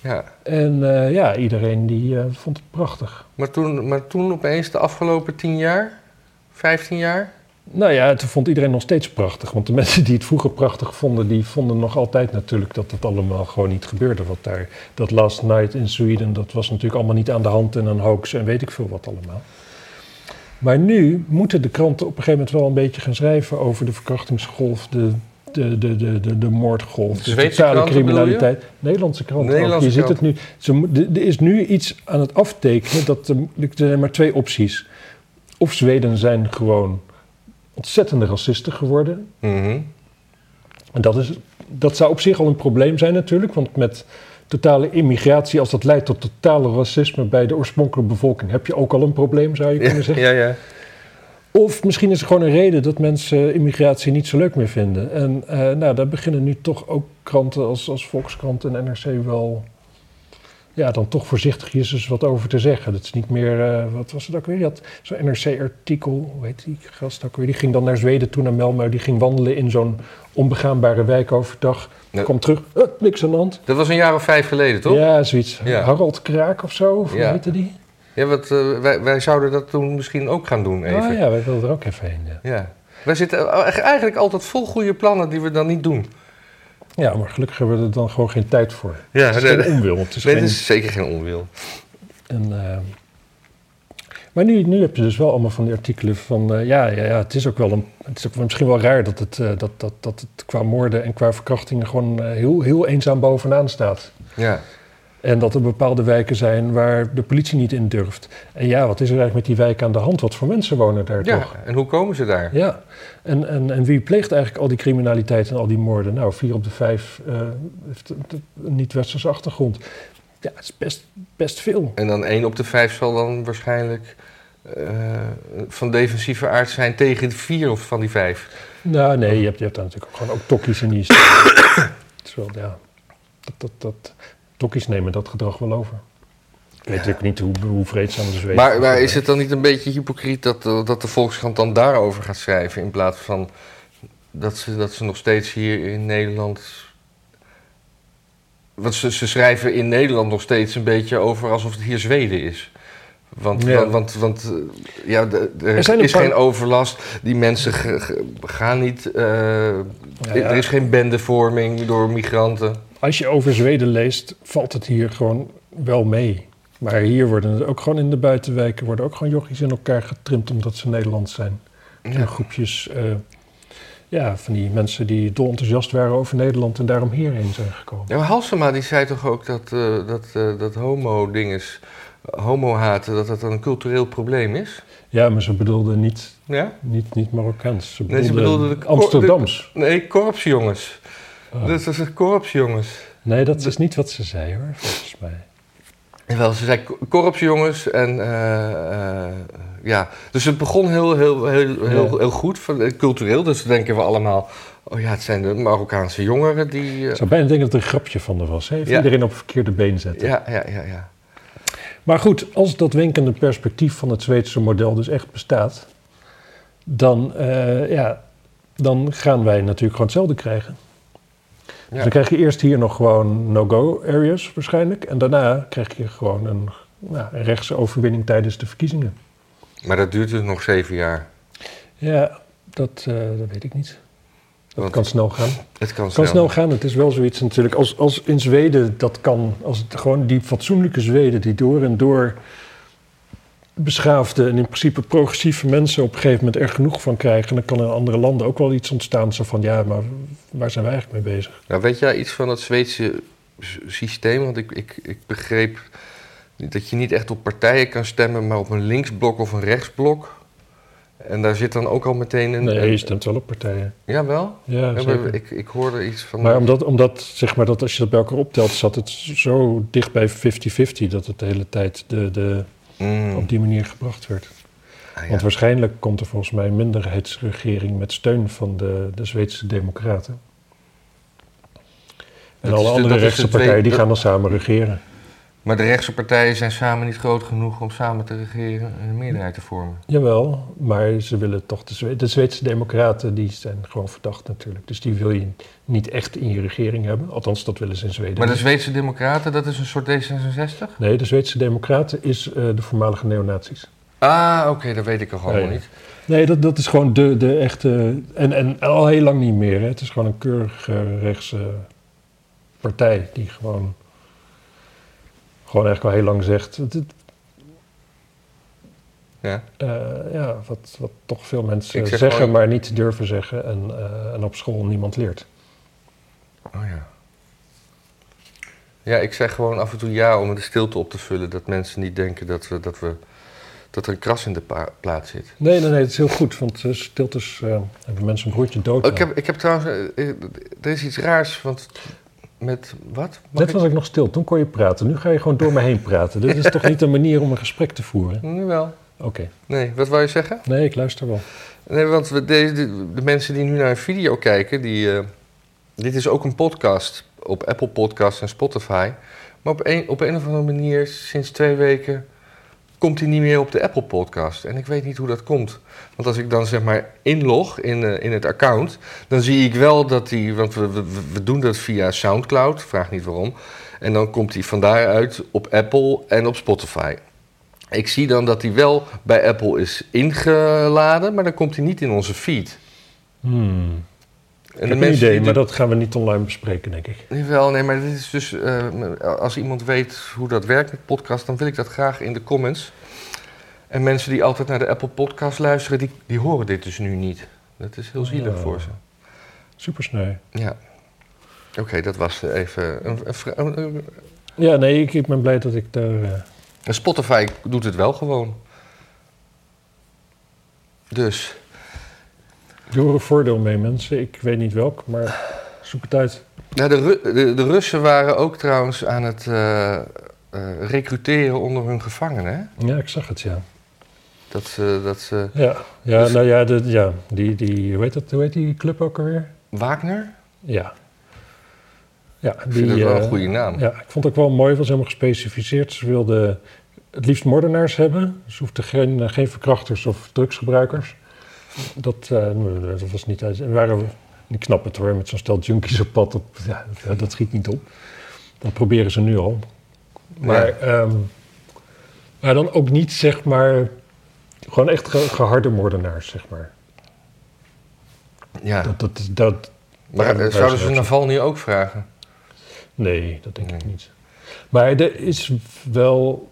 A: Ja.
B: En eh, ja, iedereen die eh, vond het prachtig.
A: Maar, toen, maar toen opeens de afgelopen 10 jaar, 15 jaar.
B: Nou ja, het vond iedereen nog steeds prachtig. Want de mensen die het vroeger prachtig vonden, die vonden nog altijd natuurlijk dat het allemaal gewoon niet gebeurde. Wat daar, dat Last Night in Sweden, dat was natuurlijk allemaal niet aan de hand en een hoax en weet ik veel wat allemaal. Maar nu moeten de kranten op een gegeven moment wel een beetje gaan schrijven over de verkrachtingsgolf, de, de, de, de, de, de moordgolf,
A: De
B: de,
A: Zweedse
B: totale
A: kranten bedoel je?
B: criminaliteit. Nederlandse kranten.
A: Nederlandse
B: ook. Je ziet het nu. Ze mo- de- Er is nu iets aan het aftekenen dat er, er zijn maar twee opties. Of Zweden zijn gewoon ontzettende racisten geworden.
A: Mhm.
B: En dat, is, dat zou op zich al een probleem zijn natuurlijk, want met totale immigratie, als dat leidt tot totale racisme bij de oorspronkelijke bevolking, heb je ook al een probleem, zou je kunnen
A: Ja,
B: zeggen.
A: ja, ja.
B: Of misschien is er gewoon een reden dat mensen immigratie niet zo leuk meer vinden. En eh, nou, daar beginnen nu toch ook kranten als, als Volkskrant en NRC wel... Ja, dan toch voorzichtig is eens wat over te zeggen. Dat is niet meer... eh, wat was het ook weer? Je had zo'n NRC-artikel, hoe heet die gast ook weer? Die ging dan naar Zweden, toen naar Malmö. Die ging wandelen in zo'n onbegaanbare wijk overdag.
A: Ja.
B: Kwam terug, eh, niks aan de hand.
A: Dat was een jaar of vijf geleden, toch? Ja,
B: Ja, zoiets.
A: Ja.
B: Harald Kraak of zo, of hoe
A: Ja.
B: heette die?
A: want eh, wij, wij zouden dat toen misschien ook gaan doen even.
B: Ah ja, wij wilden er ook even heen, ja.
A: Ja. Wij zitten eh, eigenlijk altijd vol goede plannen die we dan niet doen.
B: Ja, maar gelukkig hebben we er dan gewoon geen tijd voor.
A: Ja,
B: het is
A: nee,
B: geen
A: nee.
B: onwil. Het is
A: Nee, dus-
B: geen-
A: dat is zeker geen onwil.
B: en, eh, maar nu, nu heb je dus wel allemaal van die artikelen van... eh, ja, ja, ja, het is ook wel een... Het is ook wel misschien wel raar dat het, eh, dat, dat, dat het qua moorden en qua verkrachtingen... gewoon eh, heel, heel eenzaam bovenaan staat.
A: Ja.
B: En dat er bepaalde wijken zijn waar de politie niet in durft. En ja, wat is er eigenlijk met die wijk aan de hand? Wat voor mensen wonen daar
A: ja.
B: toch?
A: En hoe komen ze daar?
B: Ja, en, en, en wie pleegt eigenlijk al die criminaliteit en al die moorden? Nou, vier op de vijf eh, heeft een- een niet-westerse achtergrond. Ja, het is best, best veel.
A: En dan één op de vijf zal dan waarschijnlijk eh, van defensieve aard zijn tegen de vier of van die vijf.
B: Nou, nee, je hebt, je hebt daar natuurlijk ook gewoon ook tokkies in die... het is wel, ja, dat, dat, dat, tokkies nemen dat gedrag wel over. Ik weet natuurlijk niet hoe, hoe vreedzaam de Zweden
A: Maar, maar is het dan niet een beetje hypocriet dat, eh, dat de Volkskrant dan daarover gaat schrijven... in plaats van dat ze, dat ze nog steeds hier in Nederland... Want ze, ze schrijven in Nederland nog steeds een beetje over alsof het hier Zweden is. Want,
B: Ja.
A: want, want, want, eh, ja, de- de- er,
B: Er zijn een
A: is
B: paar-
A: geen overlast. Die mensen ge- ge- gaan niet... eh,
B: Ja,
A: Er
B: ja.
A: is geen bendevorming door migranten.
B: Als je over Zweden leest, valt het hier gewoon wel mee. Maar hier worden het ook gewoon in de buitenwijken... worden ook gewoon jochies in elkaar getrimd omdat ze Nederlands zijn. En groepjes eh, ja, van die mensen die dol enthousiast waren over Nederland en daarom hierheen zijn gekomen.
A: Ja, maar Halsema die zei toch ook dat, eh, dat, eh, dat homo-dinges, homo-haten, dat dat dan een cultureel probleem is?
B: Ja, maar ze bedoelden niet,
A: Ja?
B: niet, niet Marokkaans. Ze
A: Nee,
B: bedoelden,
A: ze bedoelden de-
B: Amsterdams.
A: Nee, korpsjongens.
B: Oh.
A: Dat is een korpsjongens.
B: Nee, dat is niet wat ze zei hoor, volgens mij.
A: Wel, ze zei ko- korpsjongens en eh, eh, ja. Dus het begon heel, heel, heel, heel,
B: Ja.
A: heel goed, van, eh, cultureel. Dus dan denken we allemaal, oh ja, het zijn de Marokkaanse jongeren die... eh,
B: Ik zou bijna denken dat het een grapje van haar was. Hè? Even
A: Ja.
B: Iedereen op verkeerde been zetten.
A: ja, ja, ja, ja.
B: Maar goed, als dat wenkende perspectief van het Zweedse model dus echt bestaat, dan, eh, ja, dan gaan wij natuurlijk gewoon hetzelfde krijgen. Dus
A: Ja.
B: dan krijg je eerst hier nog gewoon no-go areas waarschijnlijk. En daarna krijg je gewoon een, nou, een rechtse overwinning tijdens de verkiezingen.
A: Maar dat duurt dus nog zeven jaar.
B: Ja, dat, eh, dat weet ik niet. Dat
A: Want-
B: kan snel gaan.
A: Het kan,
B: Het kan snel gaan. Het is wel zoiets natuurlijk. Als, als in Zweden dat kan. Als het gewoon die fatsoenlijke Zweden die door en door beschaafde en in principe progressieve mensen op een gegeven moment er genoeg van krijgen. Dan kan in andere landen ook wel iets ontstaan. Zo van ja, maar waar zijn wij eigenlijk mee bezig?
A: Nou, weet jij iets van het Zweedse s- systeem? Want ik, ik, ik begreep dat je niet echt op partijen kan stemmen, maar op een linksblok of een rechtsblok. En daar zit dan ook al meteen een.
B: Nee, je
A: een-
B: stemt wel op partijen.
A: Jawel?
B: Ja,
A: Ja, maar
B: zeker.
A: ik, ik hoorde iets van.
B: Maar omdat, omdat zeg maar, dat als je dat bij elkaar optelt, zat het zo dicht bij 50-50 dat het de hele tijd de, de,
A: Mm,
B: op die manier gebracht werd.
A: ah, ja.
B: Want waarschijnlijk komt er volgens mij een minderheidsregering met steun van de, de Zweedse Democraten. En
A: Dat is
B: alle
A: de-
B: andere
A: dat is de
B: rechtse
A: twee-
B: partijen die
A: dat-
B: gaan dan samen regeren.
A: Maar de rechtse partijen zijn samen niet groot genoeg om samen te regeren en een meerderheid te vormen.
B: Jawel, maar ze willen toch de, Zwe- de Zweedse democraten, die zijn gewoon verdacht natuurlijk. Dus die wil je niet echt in je regering hebben. Althans, dat willen ze in Zweden.
A: Maar de
B: niet.
A: Zweedse Democraten, dat is een soort D66?
B: Nee, de Zweedse democraten is eh, de voormalige neonazies.
A: Ah, oké, dat weet ik al gewoon
B: Nee.
A: niet.
B: Nee, dat, dat is gewoon de, de echte... En, en al heel lang niet meer. Hè. Het is gewoon een keurige rechtse partij die gewoon... Gewoon eigenlijk al heel lang zegt... Het, het,
A: Ja.
B: eh, ja, wat, wat toch veel mensen
A: Ik zeg
B: zeggen,
A: gewoon-
B: maar niet durven zeggen. En, eh, en op school niemand leert.
A: Oh ja. Ja, ik zeg gewoon af en toe ja om de stilte op te vullen. Dat mensen niet denken dat, we, dat, we, dat er een kras in de pa- plaat zit.
B: Nee, nee, nee, het is heel goed. Want eh, stiltes eh, hebben mensen een broertje dood.
A: Oh,
B: aan.
A: ik, heb, ik heb trouwens... eh, eh, Er is iets raars, want met... Wat? Mag
B: Net
A: ik-
B: was ik nog stil, toen kon je praten. Nu ga je gewoon door me heen praten. Dit is toch niet een manier om een gesprek te voeren?
A: Nu wel.
B: Oké,
A: Nee, wat wou je zeggen?
B: nee, ik luister wel.
A: Nee, want we, de, de, de mensen die nu naar een video kijken, die, eh, dit is ook een podcast op Apple Podcasts en Spotify. Maar op een, op een of andere manier, sinds twee weken, komt hij niet meer op de Apple Podcast. En ik weet niet hoe dat komt. Want als ik dan zeg maar inlog in, eh, in het account, dan zie ik wel dat hij, want we, we, we doen dat via Soundcloud, vraag niet waarom. En dan komt hij van daaruit op Apple en op Spotify. Ik zie dan dat hij wel bij Apple is ingeladen, maar dan komt hij niet in onze feed.
B: Hmm.
A: En
B: ik heb een idee,
A: die
B: maar dat gaan we niet online bespreken, denk ik.
A: Jawel, nee, maar dit is dus... eh, als iemand weet hoe dat werkt met podcast, dan wil ik dat graag in de comments. En mensen die altijd naar de Apple podcast luisteren, die, die horen dit dus nu niet. Dat is heel zielig
B: Ja.
A: voor ze.
B: Supersnij.
A: Ja. Oké, dat was even... Een, een vra- een- een-
B: Ja, nee, ik, ik ben blij dat ik daar... eh,
A: En Spotify doet het wel gewoon. Dus,
B: doe er een voordeel mee, mensen. Ik weet niet welk, maar zoek het uit.
A: nou, de, Ru- de, de Russen waren ook trouwens aan het eh, eh, recruteren onder hun gevangenen. hè?
B: Ja, ik zag het, ja.
A: Dat ze, dat ze...
B: Ja, ja
A: Dus-
B: nou ja, de, ja die, die, hoe, heet dat, hoe heet die club ook alweer? Wagner? Ja. Ja,
A: Ik vind
B: die,
A: dat wel
B: eh,
A: een goede naam.
B: Ja, ik vond het ook wel mooi, het was helemaal gespecificeerd. Ze wilden het liefst moordenaars hebben. Ze hoefden geen, eh, geen verkrachters of drugsgebruikers. Dat, eh, dat was niet uit. En waren we niet knap het hoor, met zo'n stel junkies op pad. Op, ja, dat- dat schiet niet op. Dat proberen ze nu al. Maar, ehm, maar dan ook niet, zeg maar, gewoon echt ge- geharde moordenaars, zeg maar.
A: Ja.
B: Dat, dat, dat,
A: Maar
B: Ja,
A: eh, zouden ze
B: ja,
A: Naval nu ook vragen?
B: Nee, dat denk ik
A: Nee.
B: niet. Maar er is wel.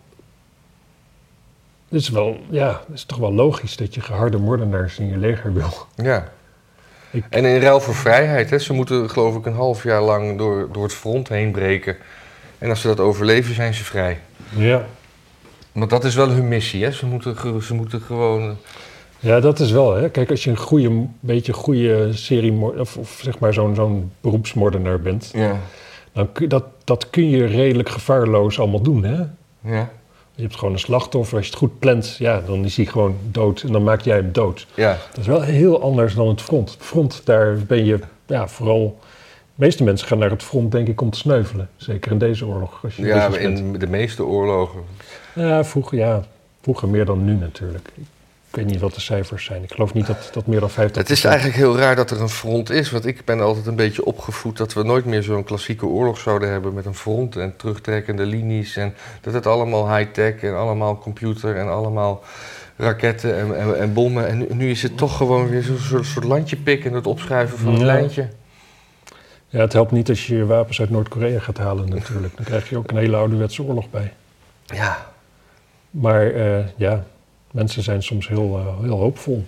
B: Het is wel, ja, het is toch wel logisch dat je geharde moordenaars in je leger wil.
A: Ja.
B: Ik-
A: En in ruil voor vrijheid, hè, ze moeten geloof ik een half jaar lang door, door het front heen breken. En als ze dat overleven, zijn ze vrij.
B: Ja.
A: Want dat is wel hun missie, hè? Ze moeten, ge- ze moeten gewoon...
B: Ja, dat is wel, hè. Kijk, als je een goede, beetje goede serie, moor- of, of zeg maar zo'n zo'n beroepsmoordenaar bent,
A: Ja.
B: dan kun, dat, dat kun je redelijk gevaarloos allemaal doen, hè.
A: Ja.
B: Je hebt gewoon een slachtoffer, als je het goed plant, ja, dan is hij gewoon dood en dan maak jij hem dood.
A: Ja.
B: Dat is wel heel anders dan het front. Het front, daar ben je ja, vooral... De meeste mensen gaan naar het front, denk ik, om te sneuvelen. Zeker in deze oorlog. Als je
A: ja
B: Russisch bent.
A: in de meeste oorlogen.
B: Ja, vroeger, ja, vroeger meer dan nu natuurlijk. Ik weet niet wat de cijfers zijn. Ik geloof niet dat, dat meer dan 50...
A: Het is eigenlijk heel raar dat er een front is. Want ik ben altijd een beetje opgevoed dat we nooit meer zo'n klassieke oorlog zouden hebben met een front en terugtrekkende linies. En dat het allemaal high-tech en allemaal computer en allemaal raketten en, en, en bommen. En nu, nu is het toch gewoon weer zo'n soort, soort landje pik en het opschuiven van een
B: Ja.
A: lijntje.
B: Ja, het helpt niet als je je wapens uit Noord-Korea gaat halen natuurlijk. Dan krijg je ook een hele ouderwetse oorlog bij.
A: Ja,
B: Maar eh, ja, mensen zijn soms heel, eh, heel hoopvol.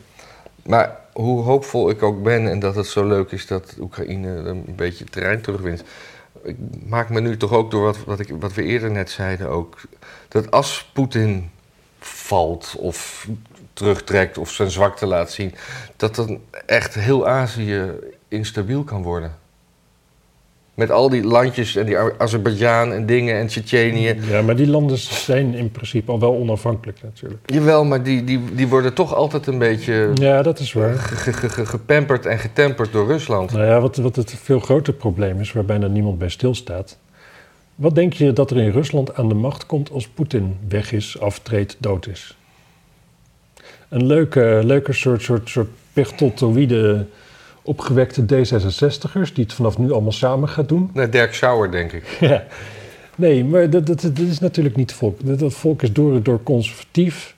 A: maar hoe hoopvol ik ook ben en dat het zo leuk is dat Oekraïne een beetje terrein terugwint. Ik maak me nu toch ook door wat, wat, ik, wat we eerder net zeiden ook. Dat als Poetin valt of terugtrekt of zijn zwakte laat zien, dat dan echt heel Azië instabiel kan worden. Met al die landjes en die A- Azerbeidzjan en dingen en Tsjetsjenië.
B: Ja, maar die landen zijn in principe al wel onafhankelijk natuurlijk.
A: Jawel, maar die, die, die worden toch altijd een beetje
B: Ja, dat is waar.
A: ge- ge- ge- gepamperd en getemperd door Rusland.
B: Nou ja, wat, wat het veel groter probleem is, waar bijna niemand bij stilstaat. Wat denk je dat er in Rusland aan de macht komt als Poetin weg is, aftreedt, dood is? Een leuke, leuke soort, soort, soort pechtotoïde opgewekte D66'ers die het vanaf nu allemaal samen gaat doen.
A: Nee, Dirk Sauer, denk ik.
B: Ja. Nee, maar dat, dat, dat is natuurlijk niet het volk. Dat, dat volk is door en door conservatief.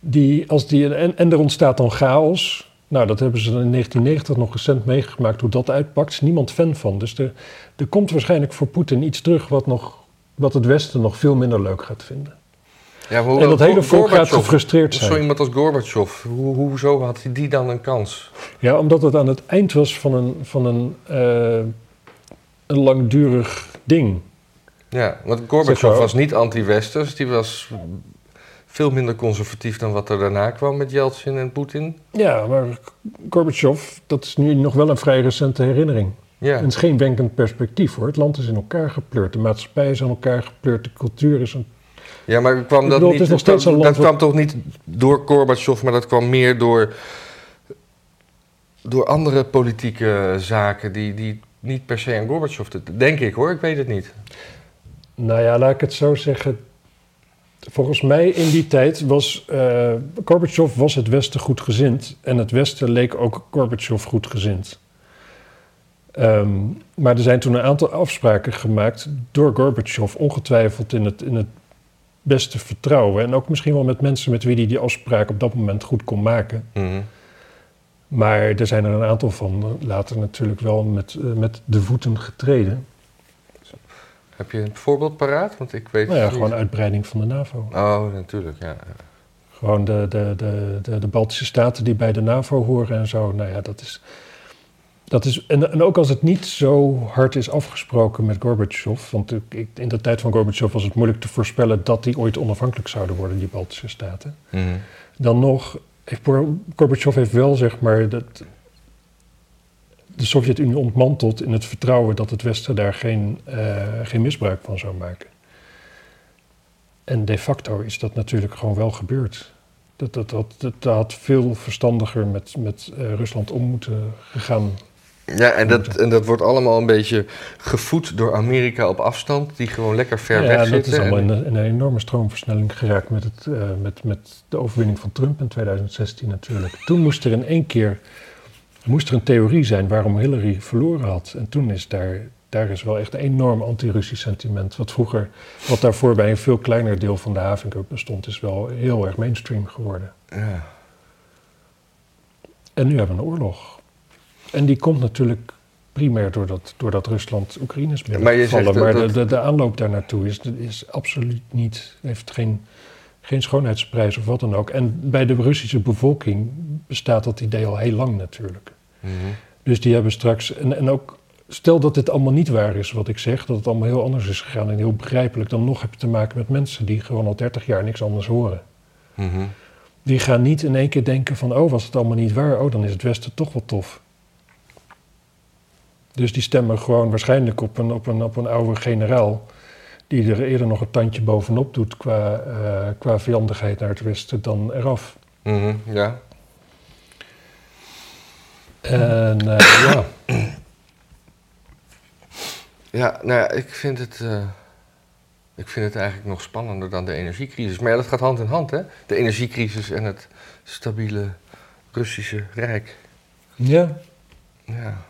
B: Die, als die, en, en er ontstaat dan chaos. Nou, dat hebben ze in 1990 nog recent meegemaakt hoe dat uitpakt. Is niemand fan van. Dus er, er komt waarschijnlijk voor Poetin iets terug wat, nog, wat het Westen nog veel minder leuk gaat vinden.
A: Ja, maar
B: En dat hele
A: Gorbachev-
B: volk gaat gefrustreerd
A: Zo
B: zijn.
A: iemand als Gorbachev, hoe, hoezo had hij die dan een kans?
B: Ja, omdat het aan het eind was van een, van een, eh, een langdurig ding.
A: Ja, want
B: Zeg
A: Gorbachev
B: maar.
A: was niet anti-westers. Die was veel minder conservatief dan wat er daarna kwam met Yeltsin en Poetin.
B: Ja, maar Gorbachev, dat is nu nog wel een vrij recente herinnering.
A: Ja.
B: En het is geen wenkend perspectief hoor. Het land is in elkaar gepleurd, de maatschappij is aan elkaar gepleurd, de cultuur is aan...
A: ja, maar kwam
B: Ik
A: dat
B: bedoel,
A: niet...
B: het is nog steeds
A: dat,
B: een
A: dat
B: land
A: kwam toch niet door Gorbachev, maar dat kwam meer door... door andere politieke zaken die, die niet per se aan Gorbachev... te- Denk ik hoor, ik weet het niet.
B: Nou ja, laat ik het zo zeggen. Volgens mij in die tijd was eh Gorbachev was het Westen goedgezind en het Westen leek ook Gorbachev goedgezind. Ehm, maar er zijn toen een aantal afspraken gemaakt door Gorbachev, ongetwijfeld in het, in het beste vertrouwen. En ook misschien wel met mensen met wie hij die afspraak op dat moment goed kon maken.
A: Mhm.
B: Maar er zijn er een aantal van eh, later natuurlijk wel met, eh, met de voeten getreden.
A: Heb je een voorbeeld paraat? Want ik weet
B: Nou ja,
A: het
B: gewoon
A: niet.
B: uitbreiding van de NAVO.
A: Oh, natuurlijk, ja.
B: Gewoon de, de, de, de, de Baltische staten die bij de NAVO horen en zo. Nou ja, dat is. Dat is en, en ook als het niet zo hard is afgesproken met Gorbachev. Want ik- ik- in de tijd van Gorbachev was het moeilijk te voorspellen dat die ooit onafhankelijk zouden worden, die Baltische staten.
A: Mhm.
B: dan nog, heeft Gor- Gorbachev heeft wel zeg maar dat de Sovjet-Unie ontmanteld in het vertrouwen dat het Westen daar geen, eh, geen misbruik van zou maken. En de facto is dat natuurlijk gewoon wel gebeurd. Dat, dat, dat, dat, dat had veel verstandiger met, met eh, Rusland om moeten gegaan.
A: Ja, en dat, en dat wordt allemaal een beetje gevoed door Amerika op afstand, die gewoon lekker ver
B: ja,
A: weg
B: dat
A: zitten.
B: is allemaal
A: En-
B: in een, in een enorme stroomversnelling geraakt met, het, eh, met, met de overwinning van Trump in 2016 natuurlijk. Toen moest er in één keer moest er een theorie zijn waarom Hillary verloren had. En toen is daar, daar is wel echt een enorm anti-Russisch sentiment. Wat vroeger, wat daarvoor bij een veel kleiner deel van de havencup bestond, is wel heel erg mainstream geworden.
A: ja.
B: En nu hebben we een oorlog. En die komt natuurlijk primair doordat, doordat Rusland Oekraïne is
A: Maar je
B: binnengevallen.
A: zegt
B: Maar,
A: dat-
B: de,
A: dat-
B: de, de aanloop daar naartoe is, is absoluut niet, heeft geen, geen schoonheidsprijs of wat dan ook. En bij de Russische bevolking bestaat dat idee al heel lang natuurlijk.
A: Mhm.
B: Dus die hebben straks, en, en ook stel dat dit allemaal niet waar is wat ik zeg, dat het allemaal heel anders is gegaan en heel begrijpelijk, dan nog heb je te maken met mensen die gewoon al 30 jaar niks anders horen.
A: Mhm.
B: Die gaan niet in één keer denken van, oh, was het allemaal niet waar? Oh, dan is het Westen toch wel tof. Dus die stemmen gewoon waarschijnlijk op een, op een, op een oude generaal... die er eerder nog een tandje bovenop doet qua, eh, qua vijandigheid naar het Westen dan eraf.
A: Mhm. Ja.
B: En eh, ja,
A: Ja, nou ja, ik vind het. eh, ik vind het eigenlijk nog spannender dan de energiecrisis. Maar ja, dat gaat hand in hand, hè? De energiecrisis en het stabiele Russische Rijk.
B: ja,
A: Ja.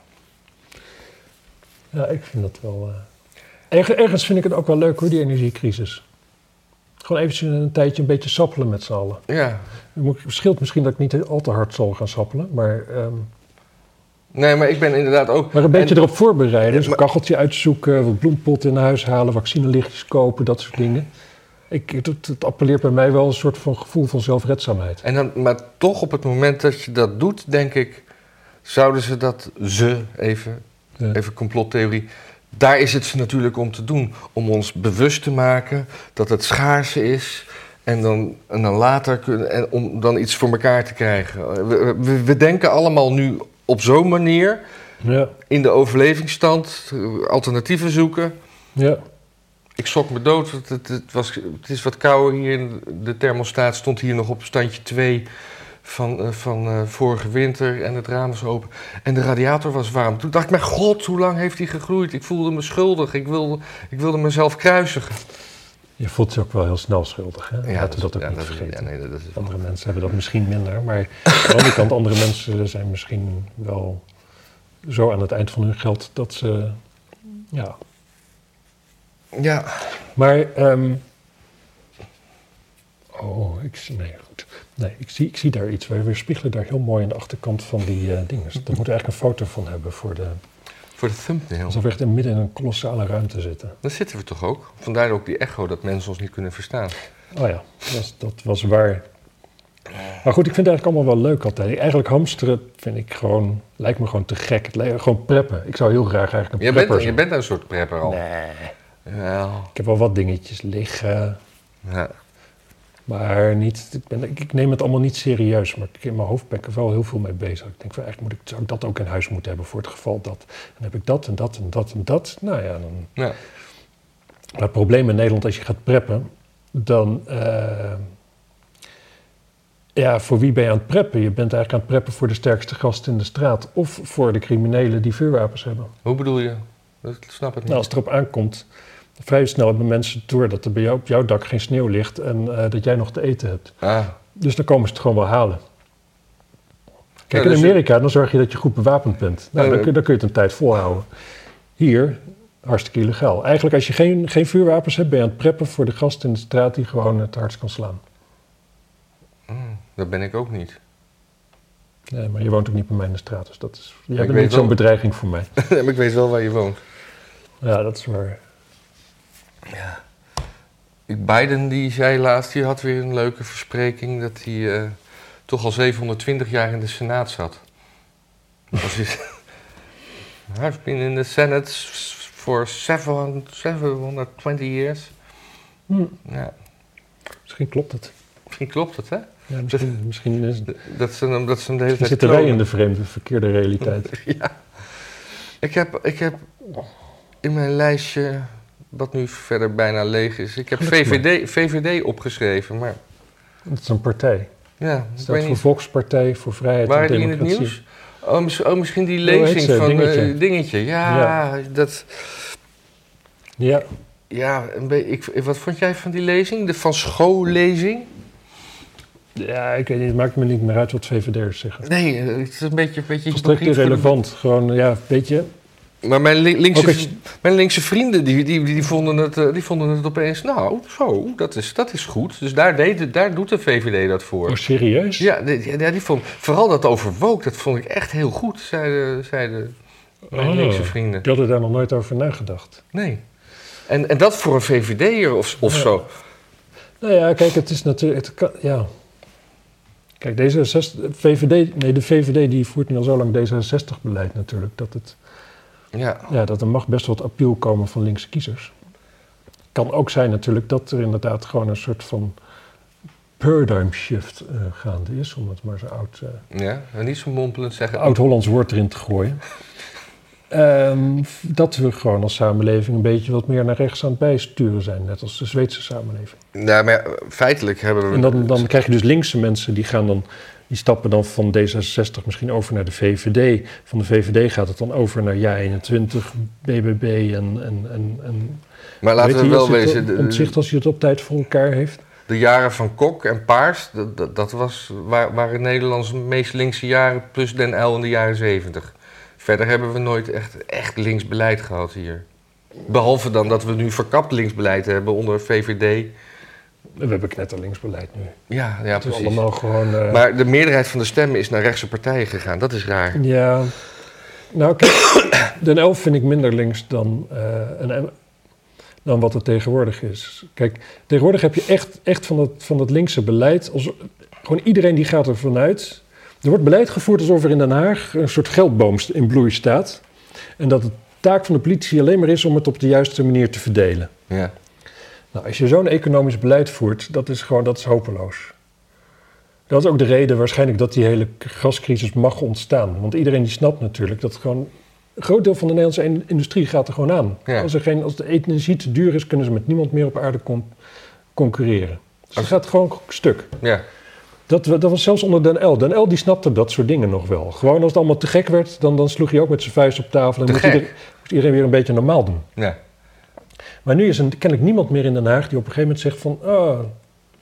B: ja ik vind dat wel... eh, erg- ergens vind ik het ook wel leuk, hoor, die energiecrisis. Gewoon eventjes een tijdje een beetje sappelen met z'n allen.
A: ja.
B: Het moet- scheelt misschien dat ik niet al te hard zal gaan sappelen, maar... ehm,
A: Nee, maar ik ben inderdaad ook.
B: Maar een beetje
A: en-
B: erop voorbereiden. Dus
A: Maar-
B: een kacheltje uitzoeken, wat bloempotten in huis halen, vaccinelichtjes kopen, dat soort dingen. Ik, het, het appelleert bij mij wel een soort van gevoel van zelfredzaamheid.
A: En dan, maar toch op het moment dat je dat doet, denk ik. Zouden ze dat ze even
B: Ja.
A: Even complottheorie. Daar is het natuurlijk om te doen. Om ons bewust te maken dat het schaarse is. En dan, en dan later kunnen, en om dan iets voor elkaar te krijgen. We, we, we denken allemaal nu op zo'n manier.
B: Ja,
A: In de overlevingsstand. eh, Alternatieven zoeken.
B: ja. Ik
A: Ik schrok me dood. want Het, het, was, het is wat kouder hier. De thermostaat stond hier nog op standje 2. van, eh, van eh, vorige winter en het raam was open en de radiator was warm. Toen dacht ik, mijn god, hoe lang heeft die gegroeid? Ik voelde me schuldig, ik wilde, ik wilde mezelf kruisigen.
B: Je voelt je ook wel heel snel schuldig. Hè? Laten we dat ook
A: ja,
B: niet
A: dat is-
B: vergeten.
A: ja, nee, dat is-
B: Andere mensen hebben dat misschien minder. Maar aan de andere kant, andere mensen zijn misschien wel zo aan het eind van hun geld dat ze. Ja.
A: ja,
B: Maar. ehm, oh, ik, zie- nee, goed. Nee, ik zie, ik zie daar iets. Wij weerspiegelen daar heel mooi aan de achterkant van die eh dingen. Daar moeten we eigenlijk een foto van hebben voor de.
A: voor de thumbnail.
B: Alsof we echt in midden in een kolossale ruimte zitten.
A: Daar zitten we toch ook? Vandaar ook die echo, dat mensen ons niet kunnen verstaan.
B: Oh ja, dat was, dat was waar. Maar goed, ik vind het eigenlijk allemaal wel leuk altijd. Eigenlijk hamsteren vind ik gewoon, lijkt me gewoon te gek. Het lijkt gewoon preppen. Ik zou heel graag eigenlijk een
A: Je
B: prepper
A: bent, je
B: zijn.
A: bent nou een soort prepper al.
B: Nee.
A: Wel,
B: Ik heb wel wat dingetjes liggen,
A: ja.
B: maar niet, ik, ben, ik, ik neem het allemaal niet serieus. Maar ik, in mijn hoofd ben ik er wel heel veel mee bezig. Ik denk van, eigenlijk moet ik, zou ik dat ook in huis moeten hebben voor het geval dat. Dan heb ik dat en dat en dat en dat. Nou ja, dan
A: Ja.
B: Maar het probleem in Nederland, als je gaat preppen, dan. eh, ja, voor wie ben je aan het preppen? Je bent eigenlijk aan het preppen voor de sterkste gast in de straat. Of voor de criminelen die vuurwapens hebben.
A: Hoe bedoel je? Dat snap ik niet.
B: Nou, als het erop aankomt, vrij snel hebben mensen door dat er bij jou, op jouw dak geen sneeuw ligt. en eh, dat jij nog te eten hebt.
A: Ah,
B: Dus dan komen ze het gewoon wel halen. Kijk,
A: Ja, dus je-
B: in Amerika, dan zorg je dat je goed bewapend bent. Nou,
A: Ja,
B: dan,
A: ja.
B: kun, dan kun je het een tijd volhouden. Hier, hartstikke illegaal. Eigenlijk, als je geen, geen vuurwapens hebt, ben je aan het preppen voor de gast in de straat die gewoon het hardst kan slaan.
A: mm, dat ben ik ook niet.
B: Nee, maar je woont ook niet bij mij in de straat, dus dat is. Jij bent
A: weet
B: niet zo'n
A: wel-
B: bedreiging voor mij.
A: Maar ik weet wel waar je woont.
B: Ja, dat is waar.
A: Ik- Biden die zei laatst, die had weer een leuke verspreking dat hij eh, toch al 720 jaar in de Senaat zat. Als je- I've been in the Senate s- for seven- 720 years.
B: Hm,
A: Ja,
B: misschien klopt het.
A: misschien klopt het, hè?
B: Ja, misschien, misschien is,
A: Dat ze hem, dat ze hem de hele
B: misschien
A: tijd
B: zitten wij
A: klonen.
B: in de vreemde, verkeerde realiteit.
A: Ja. Ik heb, ik heb in mijn lijstje, wat nu verder bijna leeg is, ik heb
B: Gelukkig maar.
A: VVD, VVD opgeschreven, maar
B: Het is een partij.
A: ja, ik
B: Staat
A: weet
B: voor
A: niet.
B: Volkspartij voor Vrijheid
A: Waren
B: en
A: die in het
B: Democratie.
A: nieuws? Oh, mis- oh, misschien die
B: Hoe heet
A: lezing
B: ze?
A: van eh, dingetje.
B: Dingetje.
A: Ja, dat.
B: Ja,
A: Ja, een be- ik, wat vond jij van die lezing? De Van Schoollezing?
B: Ja, ik weet niet, het maakt me niet meer uit wat VVD'ers zeggen.
A: Nee, eh, het is een beetje. Een beetje
B: Volstrekt
A: hypocriet voor de-
B: irrelevant. Gewoon, ja, weet je.
A: Maar mijn, li- linkse,
B: Ook als je-
A: mijn linkse vrienden die, die, die, vonden het, eh, die vonden het opeens. Nou, zo, dat is, dat is goed. Dus daar, deed, het- daar doet de VVD dat voor.
B: Oh, serieus?
A: Ja, die, ja, die vond, vooral dat over woke, dat vond ik echt heel goed, zeiden, zeiden mijn
B: Oh.
A: linkse vrienden.
B: Ik had er daar nog nooit over nagedacht.
A: Nee. En, en dat voor een VVD'er of, of
B: Ja.
A: zo.
B: Nou ja, kijk, het is natuurlijk... Het kan, ja. Kijk, D66, VVD, nee, de VVD die voert nu al zo lang D66-beleid natuurlijk. Dat, het,
A: Ja.
B: ja, dat er mag best wat appeal komen van linkse kiezers. Kan ook zijn natuurlijk dat er inderdaad gewoon een soort van paradigm shift eh, gaande is. Om het maar zo oud... eh,
A: ja. En niet zo mompelend zeggen.
B: oud-Hollands woord erin te gooien. Ehm, dat we gewoon als samenleving een beetje wat meer naar rechts aan het bijsturen zijn. Net als de Zweedse samenleving.
A: Nou, maar feitelijk hebben we.
B: En dan, dan krijg je dus linkse mensen die gaan dan... Die stappen dan van D66 misschien over naar de VVD. Van de VVD gaat het dan over naar JA21, BBB en... en, en, en
A: maar laten we wel wezen. de-
B: Omzicht als je het op tijd voor elkaar heeft.
A: De jaren van Kok en Paars, dat, dat, dat was, wa- waren Nederlands meest linkse jaren, plus Den Uyl in de jaren zeventig. Verder hebben we nooit echt, echt links beleid gehad hier. Behalve dan dat we nu verkapt linksbeleid hebben onder VVD.
B: We hebben knetterlinksbeleid nu.
A: Ja, ja
B: Het is
A: precies.
B: allemaal gewoon... eh,
A: Maar de meerderheid van de stemmen is naar rechtse partijen gegaan. Dat is raar.
B: Ja, nou kijk, Den Elf vind ik minder links dan, eh, een M- dan wat het tegenwoordig is. Kijk, tegenwoordig heb je echt, echt van, dat, van dat linkse beleid, als, gewoon iedereen die gaat ervan uit. Er wordt beleid gevoerd alsof er in Den Haag een soort geldboom st- in bloei staat. En dat de taak van de politie alleen maar is om het op de juiste manier te verdelen.
A: Ja.
B: Nou, als je zo'n economisch beleid voert, dat is gewoon dat is hopeloos. Dat is ook de reden waarschijnlijk dat die hele gascrisis mag ontstaan. Want iedereen die snapt natuurlijk dat gewoon... Een groot deel van de Nederlandse in- industrie gaat er gewoon aan.
A: Ja.
B: Als, er geen, als de energie te duur is, kunnen ze met niemand meer op aarde con- concurreren. Dus het gaat gewoon stuk.
A: ja.
B: Dat, dat was zelfs onder Den L. Den L die snapte dat soort dingen nog wel. Gewoon als het allemaal te gek werd, dan, dan sloeg hij ook met zijn vuist op tafel. En
A: Te
B: moest
A: gek.
B: ieder- moest iedereen weer een beetje normaal doen.
A: Ja.
B: Maar nu is er kennelijk niemand meer in Den Haag die op een gegeven moment zegt van... ah,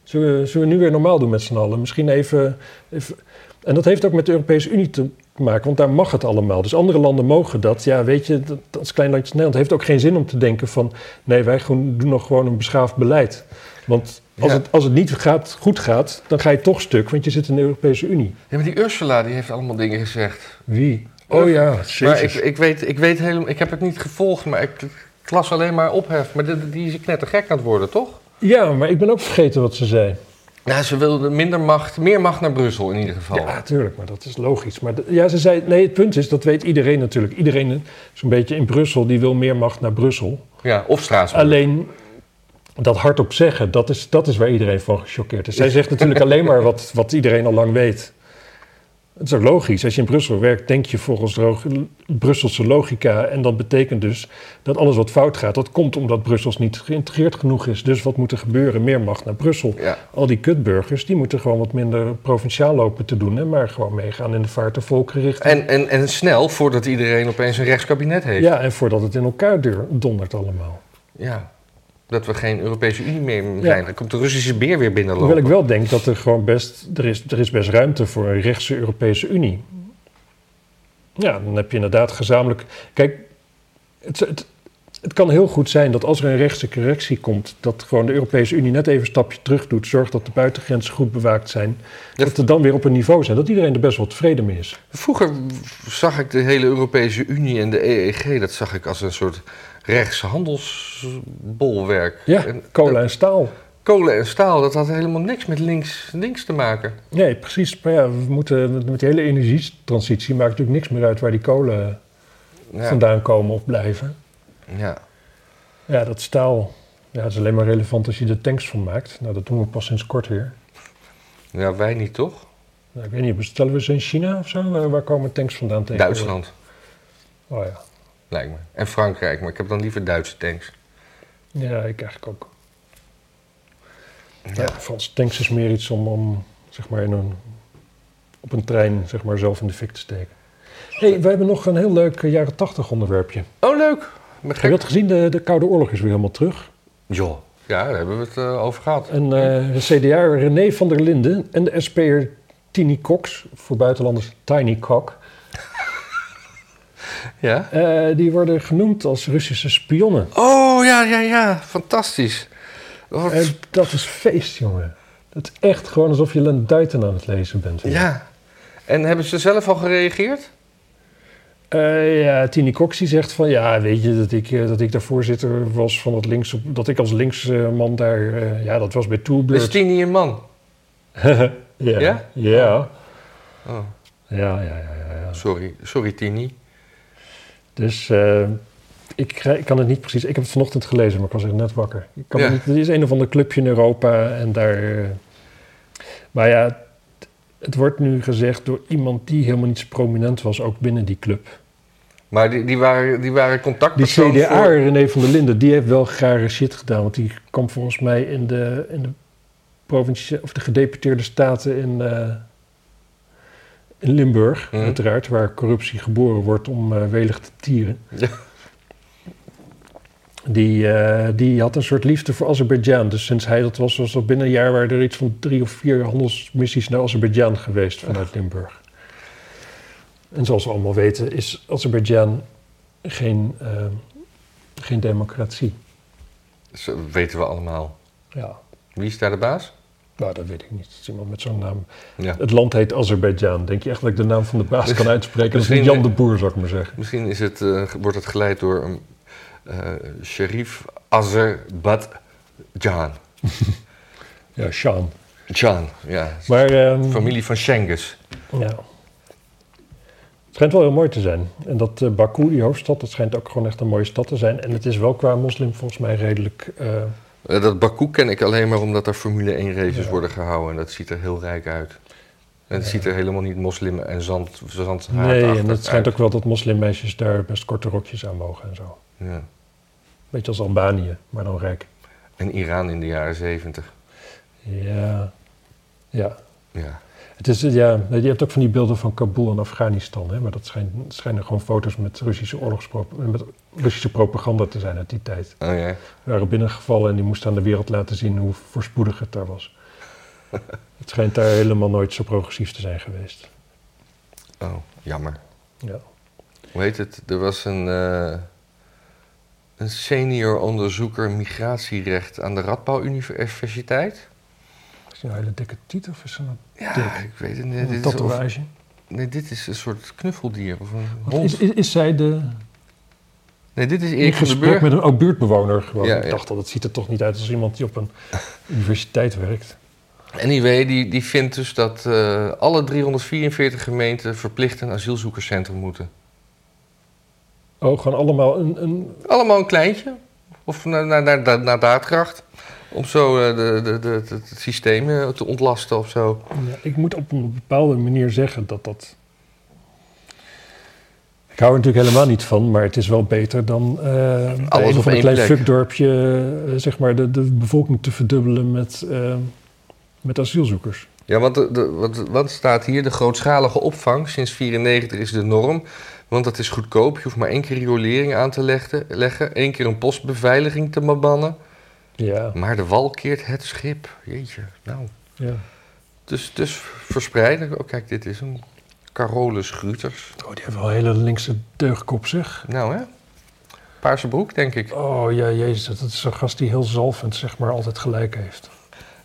B: zullen, we, zullen we nu weer normaal doen met z'n allen? Misschien even, even... En dat heeft ook met de Europese Unie te maken, want daar mag het allemaal. Dus andere landen mogen dat. Ja, weet je, dat, als klein landje als Nederland heeft ook geen zin om te denken van... nee, wij gewoon, doen nog gewoon een beschaafd beleid. Want als,
A: Ja.
B: het, als het niet gaat, goed gaat, dan ga je toch stuk, want je zit in de Europese Unie.
A: Ja, maar die Ursula die heeft allemaal dingen gezegd.
B: Wie? Oh ja,
A: Maar ik,
B: jezus.
A: ik, weet, ik weet helemaal, ik heb het niet gevolgd, maar ik klas alleen maar ophef. Maar die, die is knettergek aan het worden, toch?
B: Ja, maar ik ben ook vergeten wat ze zei.
A: Ja, ze wilde minder macht, meer macht naar Brussel in ieder geval.
B: Ja, tuurlijk, maar dat is logisch. Maar d- ja, ze zei, nee, het punt is, dat weet iedereen natuurlijk. Iedereen eh, zo'n beetje in Brussel, die wil meer macht naar Brussel.
A: Ja, of Straatsburg.
B: Alleen dat hardop zeggen, dat is, dat is waar iedereen van gechoqueerd is. Zij zegt natuurlijk alleen maar wat, wat iedereen al lang weet. Het is ook logisch. Als je in Brussel werkt, denk je volgens droog- Brusselse logica. En dat betekent dus dat alles wat fout gaat, dat komt omdat Brussels niet geïntegreerd genoeg is. Dus wat moet er gebeuren? Meer macht naar Brussel
A: Ja.
B: al die kutburgers, die moeten gewoon wat minder provinciaal lopen te doen. Hè, maar gewoon meegaan in de vaart der volkenrichting.
A: En, en, en snel, voordat iedereen opeens een rechtskabinet heeft.
B: Ja, en voordat het in elkaar deur- dondert allemaal.
A: Ja. Dat we geen Europese Unie meer zijn.
B: Ja.
A: Dan komt de Russische beer weer binnenlopen.
B: Hoewel ik wel denk dat er gewoon best, er is, er is best ruimte voor een rechtse Europese Unie. Ja, dan heb je inderdaad gezamenlijk. Kijk, het, het, het kan heel goed zijn dat als er een rechtse correctie komt, dat gewoon de Europese Unie net even een stapje terug doet, zorgt dat de buitengrenzen goed bewaakt zijn,
A: Ja.
B: dat er dan weer op een niveau zijn, dat iedereen er best wel tevreden mee is.
A: Vroeger zag ik de hele Europese Unie en de EEG... dat zag ik als een soort rechtshandelsbolwerk.
B: Ja,
A: En-
B: kolen en staal.
A: Kolen en staal, dat had helemaal niks met links, links te maken.
B: Nee, precies. Maar ja, we moeten met- met die hele energietransitie maakt natuurlijk niks meer uit waar die kolen
A: Ja,
B: vandaan komen of blijven.
A: ja.
B: Ja, dat staal ja, dat is alleen maar relevant als je er tanks van maakt. Nou, dat doen we pas sinds kort weer.
A: ja wij niet, toch?
B: Nou, ik weet niet, bestellen we ze in China of zo? Waar, waar komen tanks vandaan tegen?
A: Duitsland,
B: Oh ja.
A: lijkt me. En Frankrijk, maar ik heb dan liever Duitse tanks.
B: Ja, ik eigenlijk ook. Ja.
A: Ja.
B: Franse tanks is meer iets om, om zeg maar in een, op een trein zeg maar, zelf in de fik te steken. Hé, hey, we hebben nog een heel leuk eh, jaren tachtig onderwerpje.
A: Oh, leuk! Ik ben
B: Heb je
A: gek.
B: dat gezien? De, de Koude Oorlog is weer helemaal terug.
A: Joh. Ja, daar hebben we het eh, over gehad.
B: En eh, de CDA René van der Linden en de SP'er Tini Cox, voor buitenlanders Tiny Cock,
A: Ja?
B: eh, die worden genoemd als Russische spionnen.
A: Oh, ja, ja, ja. Fantastisch. Wat-
B: En dat is feest, jongen. Dat is echt gewoon alsof je Len Duiten aan het lezen bent.
A: ja. En hebben ze zelf al gereageerd?
B: Eh, ja, Tini Cox die zegt van ja, weet je dat ik, eh, dat ik daar voorzitter was van dat links, dat ik als linksman daar, eh, ja, dat was bij
A: Is
B: Toolbeurt.
A: Tini een man?
B: ja,
A: Ja?
B: ja, ja,
A: Oh,
B: ja, ja, ja, ja.
A: sorry. Sorry, Tini.
B: Dus eh, ik, krij- ik kan het niet precies. Ik heb het vanochtend gelezen, maar ik was echt net wakker. Ik kan
A: Ja.
B: het niet, er is een of ander clubje in Europa en daar. eh, maar ja, t- het wordt nu gezegd door iemand die helemaal niet zo prominent was, ook binnen die club.
A: Maar die, die waren, die waren
B: Die
A: contactpersoon
B: CDA,
A: voor-
B: René van der Linden, die heeft wel rare shit gedaan. Want die kwam volgens mij in de, in de, provincie, of de gedeputeerde staten in, eh, in Limburg,
A: Mhm.
B: uiteraard, waar corruptie geboren wordt om eh, welig te tieren.
A: Ja.
B: Die, eh, die had een soort liefde voor Azerbeidzjan. Dus sinds hij dat was, was dat binnen een jaar waren er iets van drie of vier handelsmissies naar Azerbeidzjan geweest vanuit Limburg. En zoals we allemaal weten is Azerbeidzjan geen, eh, geen democratie.
A: Zo weten we allemaal.
B: Ja,
A: Wie is daar de baas?
B: nou dat weet ik niet. Het is iemand met zo'n naam.
A: Ja.
B: Het land heet Azerbeidzjan. Denk je echt dat ik de naam van de baas kan uitspreken? Dat is niet
A: Misschien-
B: Jan de Boer, zou ik maar zeggen.
A: Misschien is het, eh, ge- wordt het geleid door een eh, sheriff Azerbaijan.
B: Ja, Sjaan.
A: Jan, ja.
B: Maar ehm,
A: Familie van Schengens.
B: ja. Het schijnt wel heel mooi te zijn. En dat eh, Baku, die hoofdstad, dat schijnt ook gewoon echt een mooie stad te zijn. En het is wel qua moslim volgens mij redelijk... eh,
A: Eh, dat Baku ken ik alleen maar omdat er Formule 1 races
B: Ja.
A: worden gehouden. En dat ziet er heel rijk uit. En het ziet er helemaal niet moslim en zand, zand
B: nee, en het schijnt ook wel dat moslimmeisjes daar best korte rokjes aan mogen en zo.
A: Ja.
B: Beetje als Albanië, maar dan rijk.
A: En Iran in de jaren zeventig.
B: Ja, ja.
A: Ja.
B: Het is, ja, je hebt ook van die beelden van Kabul en Afghanistan, hè, maar dat schijn- schijnen gewoon foto's met Russische, oorlogspro- met Russische propaganda te zijn uit die tijd.
A: Oh ja.
B: Die waren binnengevallen en die moesten aan de wereld laten zien hoe voorspoedig het daar was. het schijnt daar helemaal nooit zo progressief te zijn geweest.
A: Oh, jammer.
B: Ja.
A: Hoe heet het? Er was een, eh, een senior onderzoeker migratierecht aan de Radbouw Universiteit.
B: Is die een hele dikke titel of is dat een,
A: Ja,
B: Dik.
A: ik weet het niet.
B: een
A: Dit is, of-
B: tatoeage?
A: nee, dit is een soort knuffeldier of een
B: Wat
A: hond.
B: Is, is, is zij de,
A: Nee, dit is
B: in
A: Erik van den
B: gesprek
A: Burg.
B: met een ook buurtbewoner gewoon?
A: Ja,
B: Ik
A: ja.
B: dacht al, dat ziet er toch niet uit als iemand die op een universiteit werkt.
A: Anyway, die, die vindt dus dat eh, alle 344 gemeenten verplicht een asielzoekerscentrum moeten.
B: Oh, gewoon allemaal een, een
A: Allemaal een kleintje. Of naar, naar, naar, naar, naar daadkracht. Om zo eh, de, de, de, het- het systeem eh, te ontlasten of zo.
B: Ja, ik moet op een bepaalde manier zeggen dat dat. Ik hou er natuurlijk helemaal niet van, maar het is wel beter dan eh
A: Alles
B: een
A: op
B: of een
A: één
B: klein
A: plek.
B: fuckdorpje, eh, zeg maar, de, de bevolking te verdubbelen met, eh, met asielzoekers.
A: Ja, want, de, de- wat, wat staat hier? De grootschalige opvang sinds 94 is de norm. Want dat is goedkoop. Je hoeft maar één keer riolering aan te leggen, leggen. één keer een postbeveiliging te bannen.
B: Ja,
A: Maar de wal keert het schip. Jeetje, nou.
B: ja.
A: Dus, dus verspreiden. Oh, kijk, dit is een Carolus Gruters.
B: Oh, die hebben wel een hele linkse deugdkop, zeg.
A: Nou, hè? Paarse broek, denk ik.
B: Oh ja, jezus, dat is zo'n gast die heel zalvend, zeg maar, altijd gelijk heeft.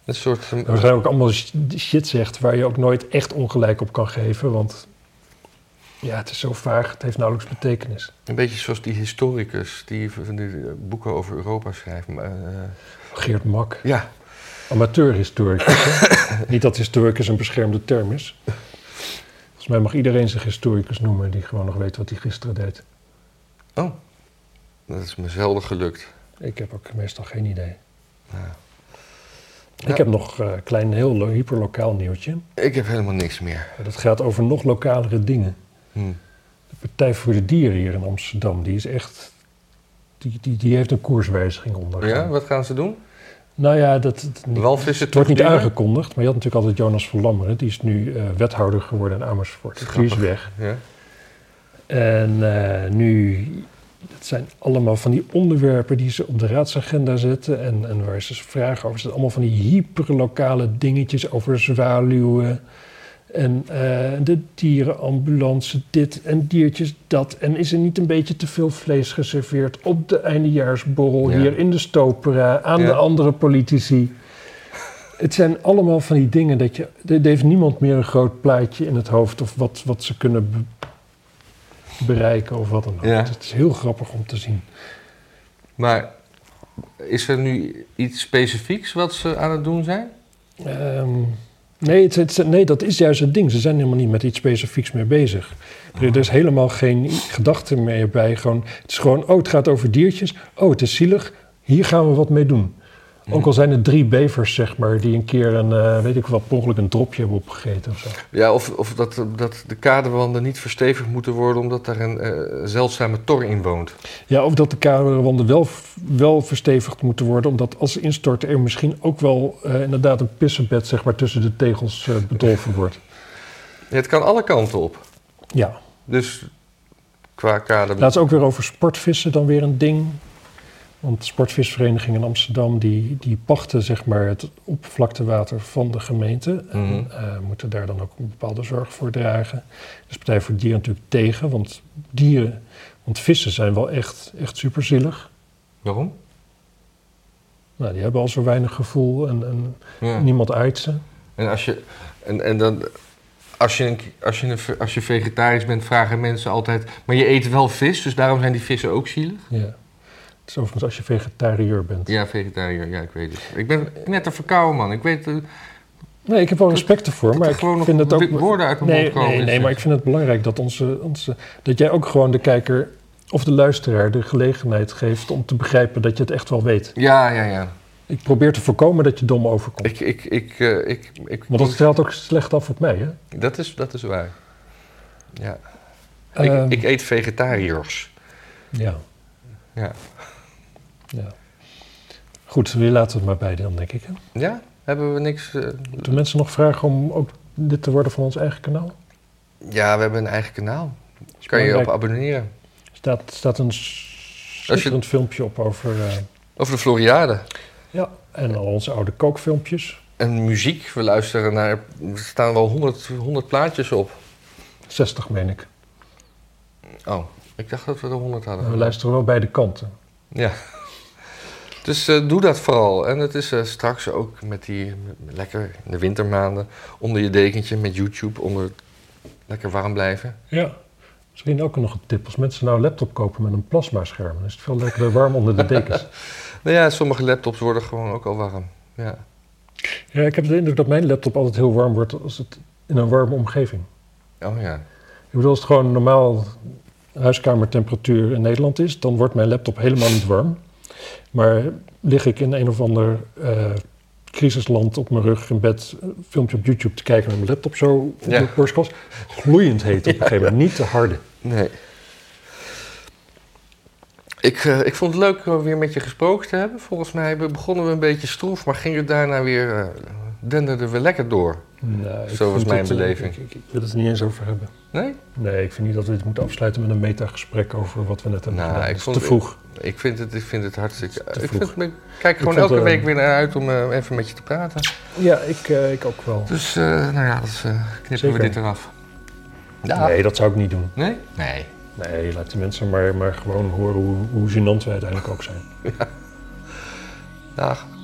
A: Een soort...
B: En waarschijnlijk Nou, ook allemaal sh- shit zegt waar je ook nooit echt ongelijk op kan geven, want ja, het is zo vaag, het heeft nauwelijks betekenis.
A: Een beetje zoals die historicus die v- van die eh, boeken over Europa schrijft. maar, eh,
B: Geert Mak,
A: ja,
B: amateurhistoricus. hè? Niet dat historicus een beschermde term is. Volgens mij mag iedereen zich historicus noemen die gewoon nog weet wat hij gisteren deed.
A: Oh, dat is me zelden gelukt.
B: Ik heb ook meestal geen idee.
A: Ja. Ja.
B: Ik heb nog een klein, heel lo- hyperlokaal nieuwtje.
A: Ik heb helemaal niks meer.
B: Dat gaat over nog lokalere dingen.
A: Hm.
B: De Partij voor de Dieren hier in Amsterdam, die is echt... Die, die, die heeft een koerswijziging ondergaan.
A: Ja, wat gaan ze doen?
B: Nou ja, dat, dat- niet-
A: Walvissen
B: het wordt niet
A: terugduwen?
B: aangekondigd. Maar je had natuurlijk altijd Jonas van Lammeren. Die is nu eh, wethouder geworden in Amersfoort. Die is
A: Grappig.
B: weg.
A: Ja.
B: En eh, nu, dat zijn allemaal van die onderwerpen die ze op de raadsagenda zetten. En, en waar ze vragen over. Het zijn allemaal van die hyperlokale dingetjes over zwaluwen. En eh, de dierenambulance, dit en diertjes dat. En is er niet een beetje te veel vlees geserveerd op de eindejaarsborrel
A: Ja.
B: hier in de Stopera aan
A: Ja.
B: de andere politici? Het zijn allemaal van die dingen dat je. Er er heeft niemand meer een groot plaatje in het hoofd of wat, wat ze kunnen be- bereiken of wat dan ook.
A: Ja.
B: Het is heel grappig om te zien.
A: Maar is er nu iets specifieks wat ze aan het doen zijn?
B: Ehm, nee, het, het- nee, dat is juist het ding. Ze zijn helemaal niet met iets specifieks mee bezig. Er, er is helemaal geen gedachte meer bij. Gewoon, het is gewoon, oh, het gaat over diertjes. Oh, het is zielig. Hier gaan we wat mee doen. Ook al zijn het drie bevers, zeg maar, die een keer een, eh, weet ik wat, per ongeluk een dropje hebben opgegeten of zo.
A: Ja, of, of dat, dat de kaderwanden niet verstevigd moeten worden omdat daar een eh, zeldzame tor in woont.
B: Ja, of dat de kaderwanden wel, wel verstevigd moeten worden, omdat als ze instorten er misschien ook wel eh, inderdaad een pissenbed, zeg maar, tussen de tegels eh, bedolven wordt.
A: Ja, het kan alle kanten op.
B: Ja.
A: Dus qua kader...
B: Laatst ook weer over sportvissen dan weer een ding. Want de sportvisvereniging in Amsterdam die, die pachten zeg maar, het oppervlaktewater van de gemeente. En
A: Mhm.
B: eh, moeten daar dan ook een bepaalde zorg voor dragen. Dus Partij voor de Dieren natuurlijk tegen. Want, dieren, want vissen zijn wel echt, echt superzielig.
A: Waarom?
B: Nou, die hebben al zo weinig gevoel en, en
A: Ja.
B: niemand uit ze.
A: En als je, en, en dan, als je, een, als, je een, als je vegetarisch bent, vragen mensen altijd. Maar je eet wel vis, dus daarom zijn die vissen ook zielig?
B: Ja. Het is overigens als je vegetariër bent.
A: Ja, vegetariër, ja, ik weet het. Ik ben net een verkouden man. Ik weet eh,
B: Nee, ik heb wel respect ervoor,
A: dat
B: maar
A: er
B: ik
A: gewoon
B: vind
A: nog
B: het ook...
A: wi- woorden uit mijn
B: Nee,
A: mond komen.
B: nee, nee, maar ik vind het belangrijk dat, onze, onze, dat jij ook gewoon de kijker of de luisteraar de gelegenheid geeft om te begrijpen dat je het echt wel weet.
A: Ja, ja, ja.
B: Ik probeer te voorkomen dat je dom overkomt.
A: Ik, ik, ik, eh, ik, ik,
B: Want dat stelt ook slecht af op mij, hè?
A: dat, is, dat is waar. Ja.
B: Ehm,
A: ik, ik eet vegetariërs.
B: Ja.
A: Ja.
B: ja. Goed, we laten het maar bij dan, denk ik. Hè?
A: Ja? Hebben we niks... eh,
B: Moeten mensen nog vragen om ook dit te worden van ons eigen kanaal?
A: ja, we hebben een eigen kanaal. Kan je op
B: belangrijk.
A: abonneren.
B: staat, staat een schitterend filmpje op over... eh,
A: Over de Floriade.
B: ja, en al onze oude kookfilmpjes.
A: En muziek, we luisteren naar... Er staan wel 100, 100 plaatjes op.
B: 60 meen ik.
A: Oh, ik dacht dat we er 100 hadden.
B: We luisteren wel beide kanten.
A: Ja. Dus eh, doe dat vooral. En het is eh, straks ook met die met- lekker in de wintermaanden onder je dekentje met YouTube onder lekker warm blijven.
B: Ja. Misschien ook nog een tip. Als mensen nou een laptop kopen met een plasmascherm, dan is het veel lekkerder warm onder de dekens.
A: Nou ja, sommige laptops worden gewoon ook al warm. Ja.
B: Ja, ik heb de indruk dat mijn laptop altijd heel warm wordt als het in een warme omgeving.
A: Oh ja.
B: Ik bedoel, als het gewoon normaal huiskamertemperatuur in Nederland is, dan wordt mijn laptop helemaal niet warm. Maar lig ik in een of ander eh, crisisland op mijn rug in bed, een filmpje op YouTube te kijken met mijn laptop zo op
A: Ja.
B: de borstkas, gloeiend heet op een gegeven moment, niet te harde.
A: Nee. Ik, eh, ik vond het leuk om weer met je gesproken te hebben. Volgens mij be- begonnen we een beetje stroef, maar ging het daarna weer, eh denderden we lekker door.
B: Nou, ik
A: Zo was
B: vind
A: mijn
B: het, eh,
A: beleving.
B: Ik, ik- ik wil het er niet eens over hebben.
A: Nee?
B: Nee, ik vind niet dat we dit moeten afsluiten met een metagesprek over wat we net hebben
A: Nou,
B: gedaan.
A: ik
B: Dat is
A: vond-
B: te vroeg.
A: Ik vind het, ik vind het hartstikke...
B: Te
A: Ik,
B: vroeg.
A: vind, ik kijk gewoon
B: vond,
A: elke
B: eh,
A: week weer naar uit om eh, even met je te praten.
B: Ja, ik, eh, ik ook wel.
A: Dus, eh, nou ja, dus, eh, knippen
B: Zeker.
A: we dit eraf.
B: Nee, dat zou ik niet doen.
A: Nee? Nee.
B: Nee, laat die mensen maar, maar gewoon horen hoe, hoe gênant wij uiteindelijk ook zijn.
A: Dag.